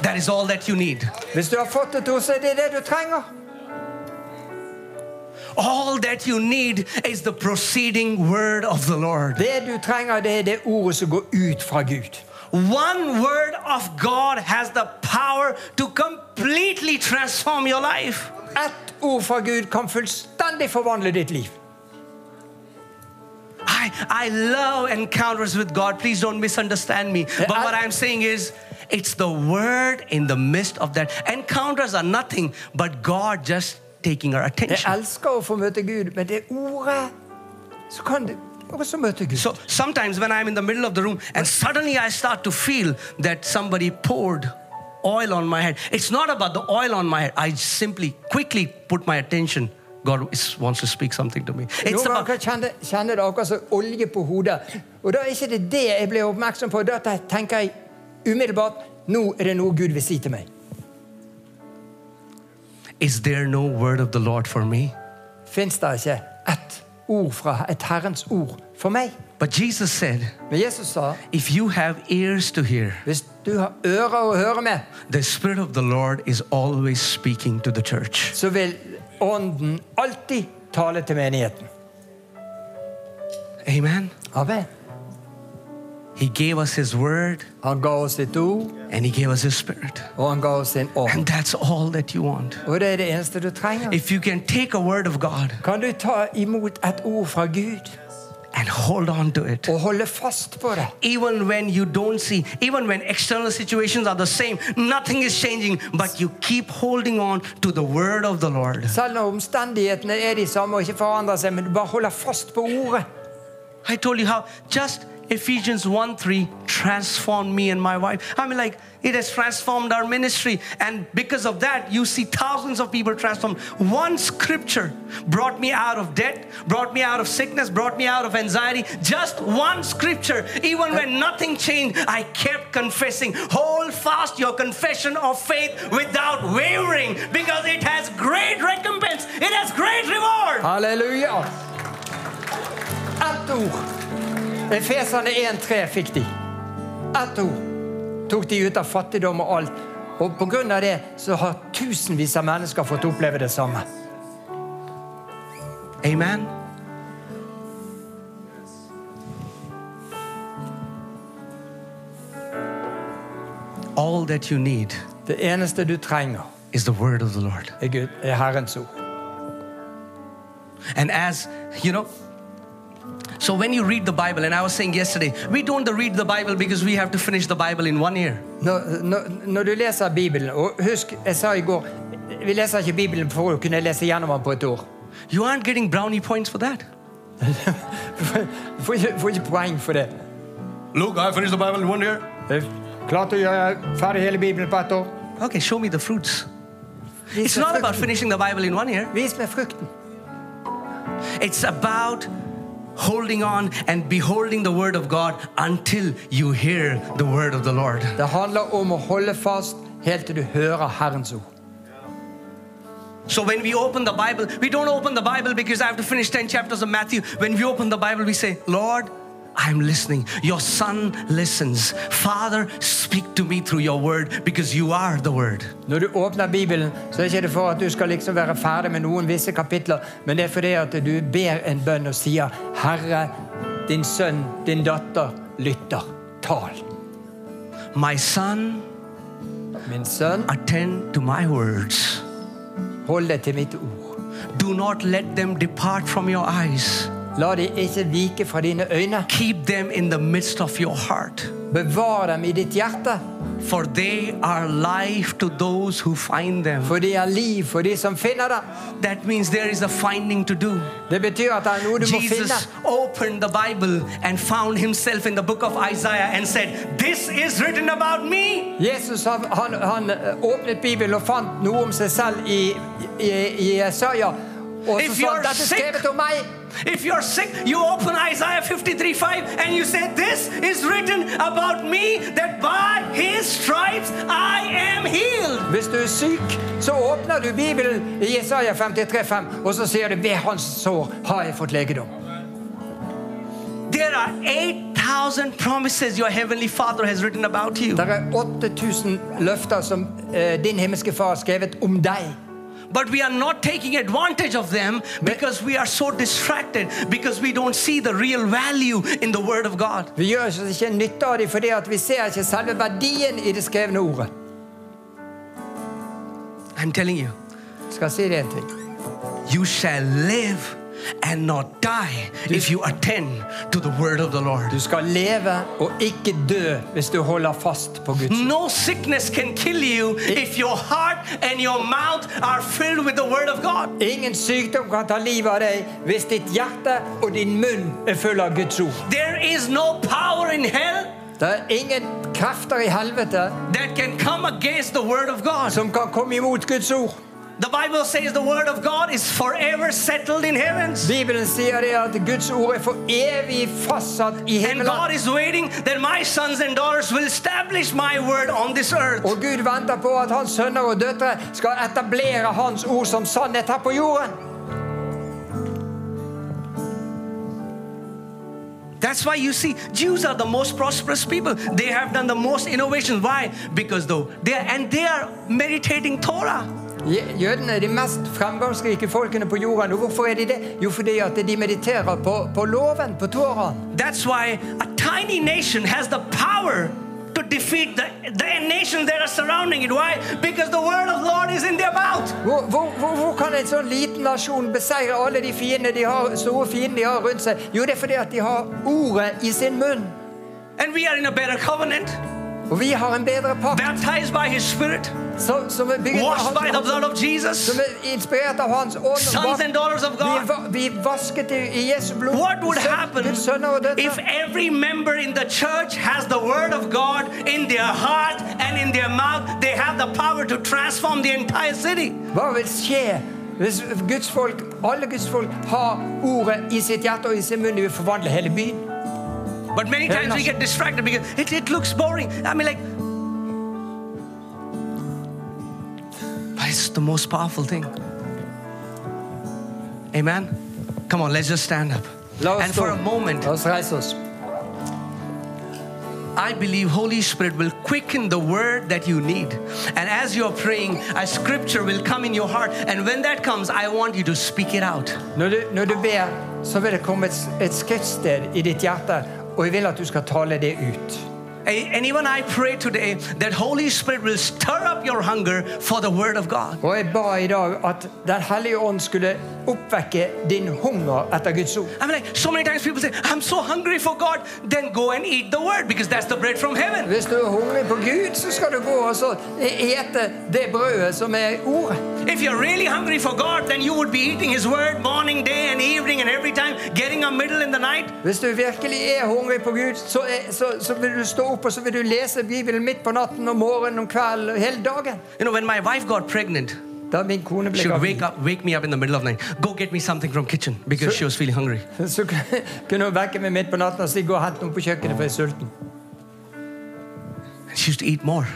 S1: that is all that you need.
S2: Hvis du har fått et ord, så er det det du trenger.
S1: All that you need is the proceeding word of the Lord.
S2: Det du trenger, det er det ordet som går ut fra Gud.
S1: One word of God has the power to completely transform your life.
S2: Ett ord fra Gud kan fullstendig forvandle ditt liv.
S1: I, I love encounters with God. Please don't misunderstand me. But what I'm saying is, it's the word in the midst of that. Encounters are nothing but God just taking our
S2: Jeg
S1: attention.
S2: elsker å få møte Gud, men det ordet Så kan du også møte Gud.
S1: So sometimes when I'm in the middle of the room and suddenly I start to feel that somebody poured oil on my head, it's not about the oil on my head. I simply quickly put my attention. God is- wants to speak something to me. It's
S2: Noen
S1: about
S2: ganger kjenner kjenner det akkurat som olje på hodet. Og da er ikke det det jeg blir oppmerksom på. Da tenker jeg umiddelbart nå er det noe Gud vil si til meg.
S1: Is there no word of the Lord for me?
S2: Fins det ikke ett ord fra et Herrens ord for meg?
S1: But Jesus said,
S2: Men Jesus sa
S1: If you have ears to hear,
S2: hvis du har ører å høre med,
S1: the Spirit of the Lord is always speaking to the church.
S2: så vil Ånden alltid tale til menigheten.
S1: Amen.
S2: Amen.
S1: He gave us His word
S2: Han ga oss sitt ord,
S1: and He gave us His spirit.
S2: og han ga oss sin
S1: And
S2: ånd.
S1: that's all that you want.
S2: Og det er det eneste du trenger.
S1: If you can take a word of God
S2: Kan du ta imot et ord fra Gud
S1: and hold on to it,
S2: og holde fast på det?
S1: even when you don't see, even when external situations are the same, nothing is changing, but you keep holding on to the word of the Lord.
S2: Selv når omstendighetene er de samme og ikke forandrer seg, men du bare holder fast på ordet.
S1: I told you how just Ephesians 1 3 transformed me and my wife. I mean, like, it has transformed our ministry. And because of that, you see thousands of people transformed. One scripture brought me out of debt, brought me out of sickness, brought me out of anxiety. Just one scripture. Even when nothing changed, I kept confessing. Hold fast your confession of faith without wavering because it has great recompense, it has great reward.
S2: Halleluja! Ett ord. Efeserne 1,3 fikk de. Ett ord tok de ut av fattigdom og alt. Og på grunn av det så har tusenvis av mennesker fått oppleve det samme.
S1: Amen. All that you need
S2: Det eneste du trenger,
S1: is the word of the Lord.
S2: er, Gud, er Herrens ord.
S1: And as you know, so when you read the Bible, and I was saying yesterday, we don't read the Bible because we have to finish the Bible in one year.
S2: Når, når, når du leser Bibelen Og husk, jeg sa i går Vi leser ikke Bibelen for å kunne lese gjennom den på et år. <laughs>
S1: You aren't getting brownie points for that.
S2: Du får, du får ikke- får ikke poeng for det.
S3: Look, I finished the Bible in one year.
S2: Klart å gjøre ferdig hele Bibelen på ett år.
S1: Okay, show me the fruits. It's
S2: Vis
S1: not
S2: meg
S1: about
S2: frukten.
S1: finishing the Bible in one year.
S2: Vis meg frukten.
S1: It's about holding on and beholding the word of God until you hear the word of the Lord.
S2: Det handler om å holde fast helt til du hører Herrens ord.
S1: So when we open the Bible, we don't open the Bible because I have to finish 10 chapters of Matthew. When we open the Bible, we say, Lord, I'm listening. Your son listens. Father, speak to me through your word because you are the word.
S2: Når du åpner Bibelen, så er ikke det for at du skal liksom være ferdig med noen visse kapitler, men det er fordi at du ber en bønn og sier 'Herre, din sønn, din datter lytter. Tal.'
S1: My son,
S2: Min sønn,
S1: attend to my words.
S2: hold deg til mitt ord.
S1: Do not let them depart from your eyes.
S2: La de ikke vike fra dine øyne.
S1: Keep them in the midst of your heart.
S2: Bevar dem i ditt hjerte,
S1: For they are life to those who find them.
S2: for de er liv for de som finner dem.
S1: That means there is a finding to do.
S2: Det betyr at det er noe du må finne.
S1: Jesus opened the Bible and found himself in the book of Isaiah and said, This is written about me.
S2: Jesus han, han, han eh, åpnet Bibelen og fant noe om seg selv i, i, i Jesaja. Og så
S1: If
S2: sa
S1: you're
S2: han dette er
S1: sick-
S2: skrevet om meg.
S1: If you're sick, you open Isaiah 53 5 and you say, This is written about me that by his stripes I am healed.
S2: Hvis du er syk, så åpner du Bibelen i Jesaja 53,5, og så sier du 'Ved hans sår har jeg fått legedom'.
S1: There are 8,000 promises your heavenly Father has written about you.
S2: Det er 8000 løfter som eh, din himmelske far har skrevet om deg.
S1: But we are not taking advantage of them because we are so distracted because we don't see the real value in the Word of God.
S2: Vi gjør oss ikke nytte av dem fordi at vi ser ikke selve verdien i det skrevne ordet.
S1: I'm telling you,
S2: Skal jeg si det en ting.
S1: you shall live and not die if you attend to the Word of the Lord.
S2: Du skal leve og ikke dø hvis du holder fast på Guds ord.
S1: No sickness can kill you if your heart and your mouth are filled with the Word of God.
S2: Ingen sykdom kan ta livet av deg hvis ditt hjerte og din munn er full av Guds ord.
S1: There is no power in hell
S2: Det er ingen krefter i helvete
S1: that can come against the Word of God.
S2: som kan komme imot Guds ord.
S1: The Bible says the Word of God is forever settled in heavens.
S2: Bibelen sier det at Guds ord er for evig fastsatt i
S1: And God
S2: himmelen.
S1: is waiting that my sons and daughters will establish my word on this earth.
S2: Og Gud venter på at hans sønner og døtre skal etablere hans ord som sannhet her på jorden.
S1: That's why you see Jews are the most prosperous people. They have done the most innovations. Why? Because though they are, and they are meditating Torah.
S2: Je- Jødene er de mest fremgangsrike folkene på jorden. Og hvorfor er de det? Jo, fordi at de mediterer på, på loven, på Toraen.
S1: That's why a tiny nation has the power to defeat the, the nations that are surrounding it. Why? Because the word of Lord is in their mouth.
S2: Hvor, hvor, hvor, hvor kan en sånn liten nasjon beseire alle de fiendene de har, store fiendene de har rundt seg? Jo, det er fordi at de har ordet i sin munn.
S1: And we are in a better covenant,
S2: Og vi har en bedre pakt
S1: baptized by His Spirit,
S2: som, som er bygget av
S1: washed by the
S2: hans,
S1: blood of Jesus.
S2: som er inspirert av Hans ånd. og
S1: Sons and
S2: vakt.
S1: daughters of
S2: Vi,
S1: God.
S2: va- vi vasket i, i Jesu blod.
S1: What would
S2: Sønn-
S1: happen
S2: Guds sønner og døtre.
S1: if every member in the church has the word of God in their heart and in their mouth? They have the power to transform the entire city.
S2: Hva vil skje hvis Guds folk, alle Guds folk har ordet i sitt hjerte og i sin munn? De vil forvandle hele byen.
S1: But many
S2: Very
S1: times we
S2: nice.
S1: get distracted because it, it looks boring. I mean, like, but it's the most powerful thing. Amen. Come on, let's just stand up.
S2: La oss
S1: And for
S2: stå.
S1: a moment,
S2: La oss reise oss.
S1: I believe Holy Spirit will quicken the word that you need. And as you're praying, a scripture will come in your heart. And when that comes, I want you to speak it out.
S2: Når du, når du ber, så vil det komme et, et skriftsted i ditt hjerte, og jeg vil at du skal tale det ut.
S1: A- And even I pray today that Holy Spirit will stir up your hunger for the word of God.
S2: Og jeg ba i dag at Den hellige ånd skulle oppvekke din hunger etter Guds ord.
S1: I mean, like, so many times people say, I'm so hungry for God, then go and eat the word because that's the bread from heaven.
S2: Hvis du er hungrig på Gud, så skal du gå og så ete det brødet som er ordet.
S1: If you're really hungry for God, then you would be eating His word morning, day, and evening, and every time, getting up middle in the night.
S2: Hvis du virkelig er hungrig på Gud, så, er, så, så vil du stå opp og så vil du lese Bibelen midt på natten, om morgenen, om kvelden, og hele dagen.
S1: You know, when my wife got pregnant,
S2: Da min kone ble
S1: she would wake
S2: gravid,
S1: up, wake me up in the middle of the night. Go get me something from kitchen because she was feeling hungry.
S2: så kunne hun vekke meg midt på natten og si 'gå og hent noe på kjøkkenet, for jeg er sulten'.
S1: And she used to eat more.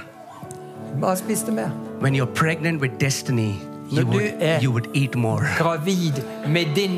S2: Bare spiste mer.
S1: When you're pregnant with destiny,
S2: No,
S1: you
S2: do eh.
S1: would,
S2: you-
S1: you would eat more.
S2: Gravid med din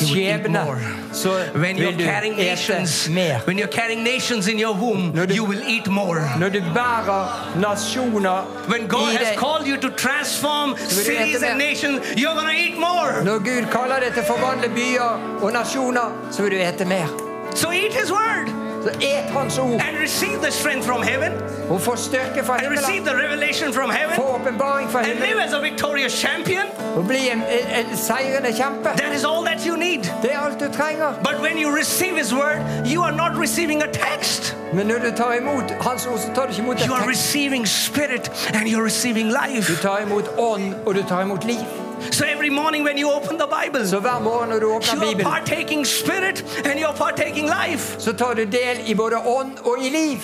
S1: You would eat
S2: skjebne,
S1: more.
S2: så
S1: When you're
S2: vil du
S1: carrying
S2: ete
S1: nations,
S2: mer.
S1: when you're carrying nations in your womb,
S2: No, do-
S1: you will eat more.
S2: Når du bærer nasjoner
S1: When God
S2: i
S1: has
S2: deg
S1: called you to transform cities and nations, you're going to eat more.
S2: Når Gud kaller deg til å forvandle byer og nasjoner, så vil du ete mer.
S1: So eat His Word
S2: Så et Hans ord
S1: and receive the strength from heaven
S2: og få styrke fra
S1: and
S2: himmelen.
S1: receive the revelation from heaven
S2: Få åpenbaring fra
S1: and live
S2: himmelen
S1: as a victorious champion.
S2: og bli en, en, en seirende kjempe.
S1: That is all that you need.
S2: Det er alt du trenger.
S1: But when you receive His Word, you are not receiving a text,
S2: Men når du tar imot Hans ord, så tar du ikke imot
S1: you
S2: et
S1: are
S2: tekst.
S1: receiving spirit and you're receiving
S2: Du
S1: life.
S2: tar imot ånd, og du tar imot liv.
S1: So every morning when you open the Bible,
S2: Så hver morgen når du åpner
S1: you are
S2: Bibelen,
S1: partaking spirit and you're partaking life.
S2: så tar du del i både ånd og i liv.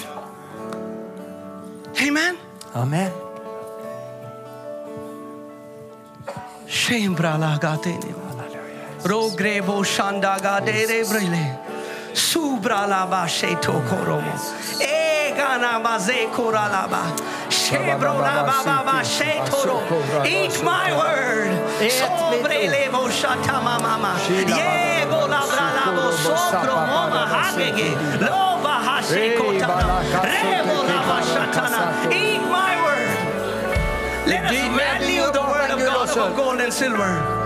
S1: Amen.
S2: Amen.
S1: Shame brala gatene. Rogrebo shandaga dere brile. Subra lava sheto koromo. E Egana baze koralaba. Shebro lava baba shetoro. Eat my word. Sobre levo shatama mama. Yego labra lavo sopro mama hagege. Loba hasekotama. Rebo lava shatana. Eat my word. Let us value the word of God above gold and silver.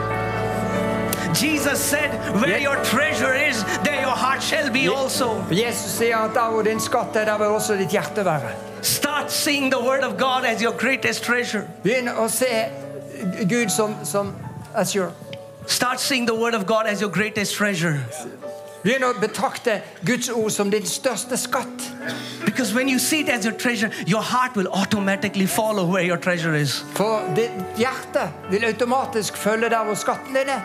S1: Jesus said, Where
S2: Yeah.
S1: your treasure is, there your heart shall be also.
S2: For Jesus sier at der hvor din skatt er, der vil også ditt hjerte være.
S1: Start seeing the Word of God as your greatest treasure.
S2: Begynn å se Gud som, som as your
S1: Start seeing the Word of God as your greatest treasure.
S2: Begynn å betrakte Guds ord som din største skatt.
S1: Because when you see it as your treasure, your heart will automatically follow where your treasure is.
S2: For ditt hjerte vil automatisk følge der hvor skatten din er.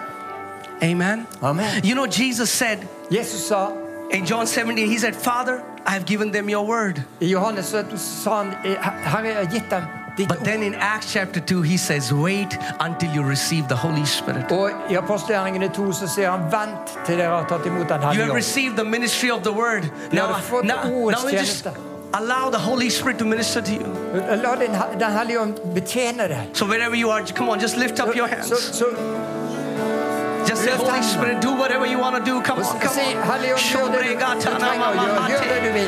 S1: Amen.
S2: Amen.
S1: You know, Jesus said
S2: Jesus sa
S1: in John 17, He said, Father, I have given them your word.
S2: i Johannes 17 sa han, Herre, jeg har gitt dem ditt
S1: But
S2: ord.
S1: then in Acts chapter 2, He says, Wait until you receive the Holy Spirit.
S2: Og i apostelgjerningene 2 så sier han, vent til dere har tatt imot den
S1: You
S2: hellige
S1: have
S2: ånd.
S1: received the ministry of the word.
S2: You
S1: Now,
S2: have fought
S1: now,
S2: the war
S1: now we
S2: against
S1: just allow the Holy Spirit to minister to you.
S2: La den, den hellige ånd betjene deg.
S1: So wherever you are, come on, just lift up your
S2: Så,
S1: hands.
S2: så,
S1: Just say,
S2: lift
S1: Holy
S2: hand.
S1: Spirit, do whatever you want to do. Come on, come
S2: Say,
S1: on.
S2: Holy Spirit, do it.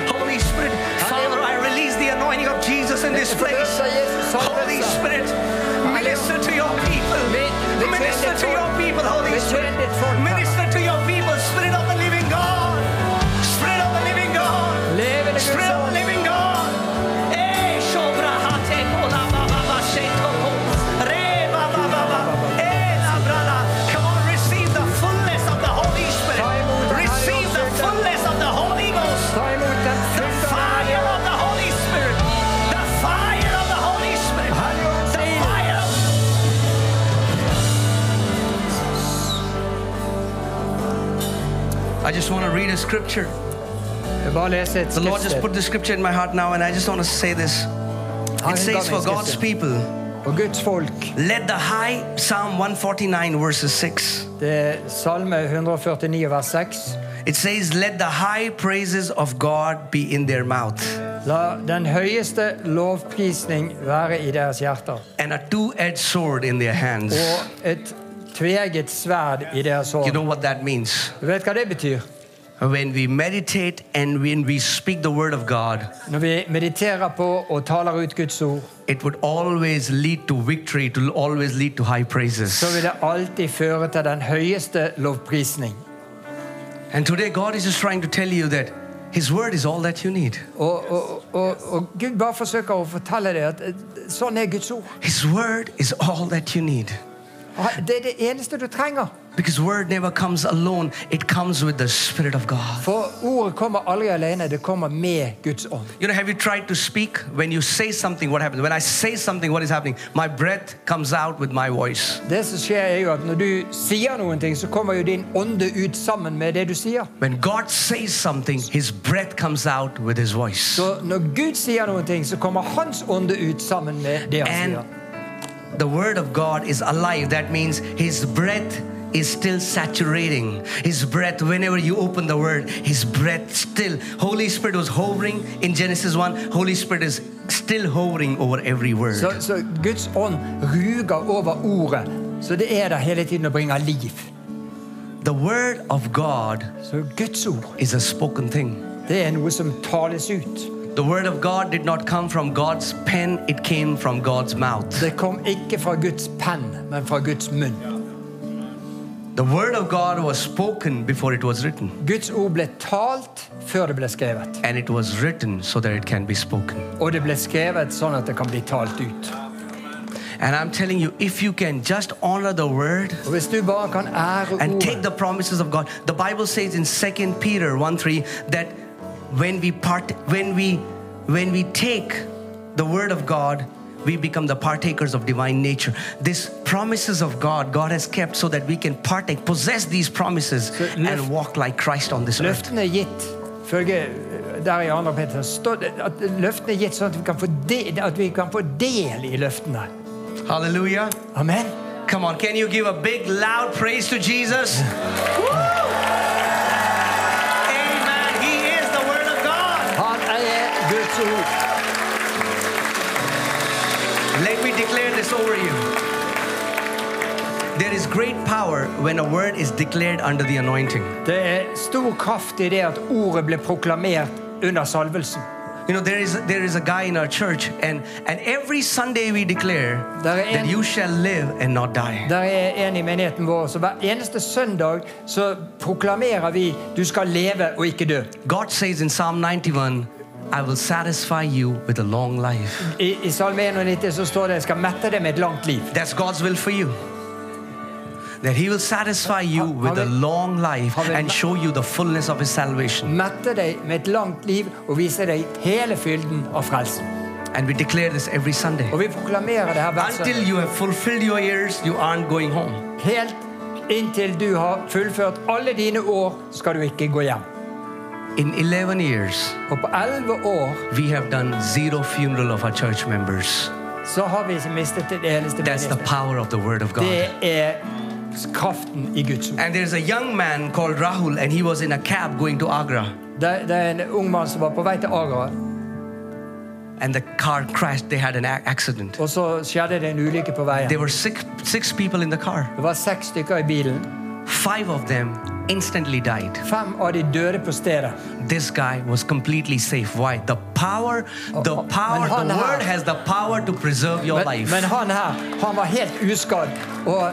S1: Holy Spirit, Father, I release the anointing of Jesus in this place. Holy Spirit, minister to your people. Minister to your people, Holy Spirit. Minister to your people, Spirit of the Eh, living God. Spirit of the living God. Eh, I just want to read a scripture.
S2: Jeg bare leser et
S1: The Lord just put
S2: skriftsted.
S1: this scripture in my heart now, and I just want to say this.
S2: Han
S1: It says,
S2: ga meg
S1: For
S2: et
S1: God's
S2: skriftsted.
S1: people,
S2: Og Guds folk
S1: let the high, Psalm 149, verses 6.
S2: Det er Salme 149 vers 6.
S1: It says, Let the high praises of God be in their mouth,
S2: La den høyeste lovprisning være i deres hjerter,
S1: and a two edged sword in their hands.
S2: og et tveget sverd i deres
S1: You
S2: hånd.
S1: know what that means?
S2: Du vet hva det betyr?
S1: When we meditate and when we speak the word of God,
S2: Når vi mediterer på og taler ut Guds ord,
S1: it would always lead to victory, it will always lead to high praises.
S2: så vil det alltid føre til den høyeste lovprisning.
S1: And today, God is just trying to tell you that His word is all that you need.
S2: Og, og, og, og Gud bare forsøker å fortelle deg at eh, sånn er Guds ord.
S1: His word is all that you need.
S2: Han- Det er det eneste du trenger.
S1: Because word never comes alone, it comes with the Spirit of God.
S2: For ordet kommer aldri alene, det kommer med Guds ånd.
S1: You know, have you tried to speak? When you say something, what happens? When I say something, what is happening? My breath comes out with my voice.
S2: Det som skjer er jo at Når du sier noen ting, så kommer jo din ånde ut sammen med det du sier.
S1: When God says something, His breath comes out with His voice.
S2: Så når Gud sier noen ting, så kommer hans ånde ut sammen med det han
S1: And
S2: sier.
S1: the Word of God is alive. That means His breath is still saturating. His breath, whenever you open the Word, His breath still. Holy Spirit was hovering in Genesis 1. Holy Spirit is still hovering over every word.
S2: Så, så Guds ånd ruger over ordet, så det er der hele tiden og bringer liv.
S1: the Word of God
S2: Så Guds ord,
S1: is a spoken thing.
S2: det er noe som tales ut.
S1: The Word of God did not come from God's pen, it came from God's mouth.
S2: Det kom ikke fra Guds penn, men fra Guds munn.
S1: The Word of God was spoken before it was written,
S2: Guds ord ble talt før det ble skrevet.
S1: and it was written so that it can be spoken.
S2: Og det ble skrevet sånn at det kan bli talt ut.
S1: And I'm telling you, if you can just honor the word
S2: Og Hvis du bare kan ære
S1: and take
S2: ordet
S1: the promises of God, the Bible says in 2 Peter 1 3 that when we part when we when we take the word of God, we become the partakers of divine nature. These promises of God, God has kept so that we can partake, possess these promises, and
S2: left-
S1: walk like Christ on this earth.
S2: Løftene er gitt, følge eh, der i 2. Peter, står det at løftene er gitt sånn at vi, kan få del, at vi kan få del i løftene.
S1: Hallelujah.
S2: Amen.
S1: Come on, can you give a big loud praise to Jesus? Woo! Amen. He is the word of God.
S2: Han er Guds ord.
S1: Let me declare this over you. There is great power when a word is declared under the anointing.
S2: Det er stor kraft i det at ordet ble proklamert under salvelsen.
S1: You know, there is there is a guy in our church, and and every Sunday we declare
S2: Daar in-
S1: that you shall live and not die.
S2: Der er en i menigheten vår, så hver eneste søndag så proklamerer vi du skal leve og ikke dø.
S1: God says in Psalm 91, I will satisfy you with a long life.
S2: I, i Salme 91 så står det jeg skal mette deg med et langt liv.
S1: That's God's will for you. That He will satisfy you
S2: Ha-
S1: with a
S2: Amen.
S1: long life
S2: Amen.
S1: and show you the fullness of His salvation.
S2: Mette deg med et langt liv og vise deg hele fylden av frelsen.
S1: And we declare this every Sunday.
S2: Og vi proklamerer det her hver
S1: Until
S2: søndag.
S1: you have fulfilled your years, you aren't going home.
S2: Helt inntil du har fullført alle dine år, skal du ikke gå hjem.
S1: In 11 years,
S2: Og på elleve år
S1: we have done zero funeral of our church members.
S2: så har vi ikke mistet et eneste
S1: That's the
S2: menneske.
S1: power of the Word of God.
S2: Det er kraften i Guds ord.
S1: And there's a young man called Rahul, and he was in a cab going to Agra,
S2: Det, det er en ung mann som var på vei til Agra,
S1: and the car crashed. They had an ac- accident.
S2: og så skjedde det en ulykke på veien.
S1: There were six, six people in the car.
S2: Det var seks stykker i bilen.
S1: Five of them instantly died.
S2: Fem av de døde på stedet.
S1: This guy was completely safe. Why? The power, the
S2: oh,
S1: power,
S2: man,
S1: the
S2: hold on.
S1: Word has the power to preserve your
S2: Men, men
S1: life.
S2: han her, han var helt uskadd. Og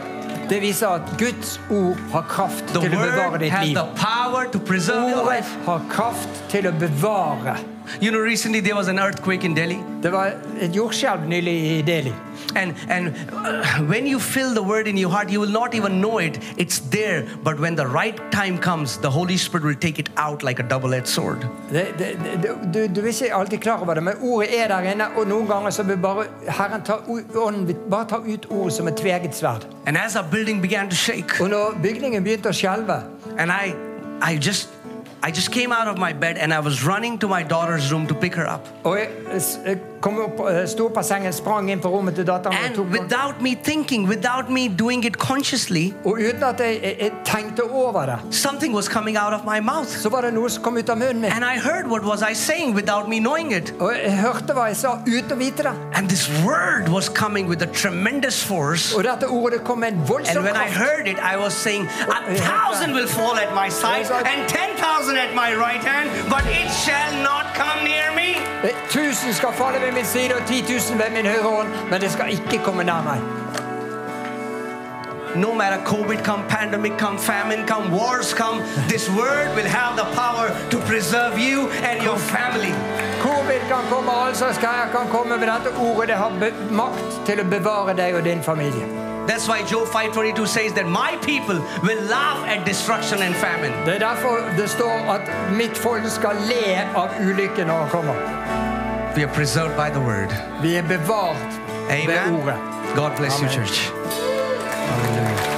S2: det viser at Guds ord har kraft
S1: The
S2: til å bevare
S1: Word
S2: ditt
S1: has
S2: liv.
S1: the power to preserve your
S2: Ordet
S1: life.
S2: har kraft til å bevare.
S1: You know, recently there was an earthquake in Delhi.
S2: Det var et jordskjelv nylig i Delhi.
S1: And and uh, when you feel the word in your heart, you will not even know it. It's there, but when the right time comes, the Holy Spirit will take it out like a double-edged sword.
S2: Det, det, det, du, du er ikke alltid klar over det, men ordet er der inne, og noen ganger så vil bare Herren ta, o- ånden vil bare ta ut ordet som et tveget sverd.
S1: And as our building began to shake,
S2: Og når bygningen begynte å skjelve,
S1: and I I just I just came out of my bed and I was running to my daughter's room to pick her up.
S2: Og jeg s- jeg kom opp, eh, sto opp av sengen, sprang inn på rommet til datteren min og tok
S1: And
S2: på-
S1: without me thinking, without me doing it consciously,
S2: Og uten at jeg, jeg, jeg tenkte over det,
S1: something was coming out of my mouth.
S2: så var det noe som kom ut av munnen min.
S1: And I heard what was I saying without me knowing it.
S2: Og jeg hørte hva jeg sa uten å vite det.
S1: And this word was coming with a tremendous force.
S2: Og dette ordet kom med en
S1: And
S2: voldsom
S1: when I
S2: kraft.
S1: heard it, I was saying, A thousand will fall at my side, and ten thousand at my right hand, but it shall not come near me.
S2: Tusen skal falle ved min side og 10 000 ved min høyre hånd, men det skal ikke komme nær meg.
S1: No matter COVID come, pandemic come, famine come, wars come, this word will have the power to preserve you and your family.
S2: Covid kan komme, all slags greier kan komme, men dette ordet det har be- makt til å bevare deg og din familie.
S1: That's why Job 5:22 says that my people will laugh at destruction and famine.
S2: Det er derfor det står at mitt folk skal le av ulykken når han kommer.
S1: We are preserved by the word.
S2: Vi er bevart ved
S1: Amen.
S2: ordet.
S1: God bless you,
S2: Amen.
S1: church.
S2: Halleluja.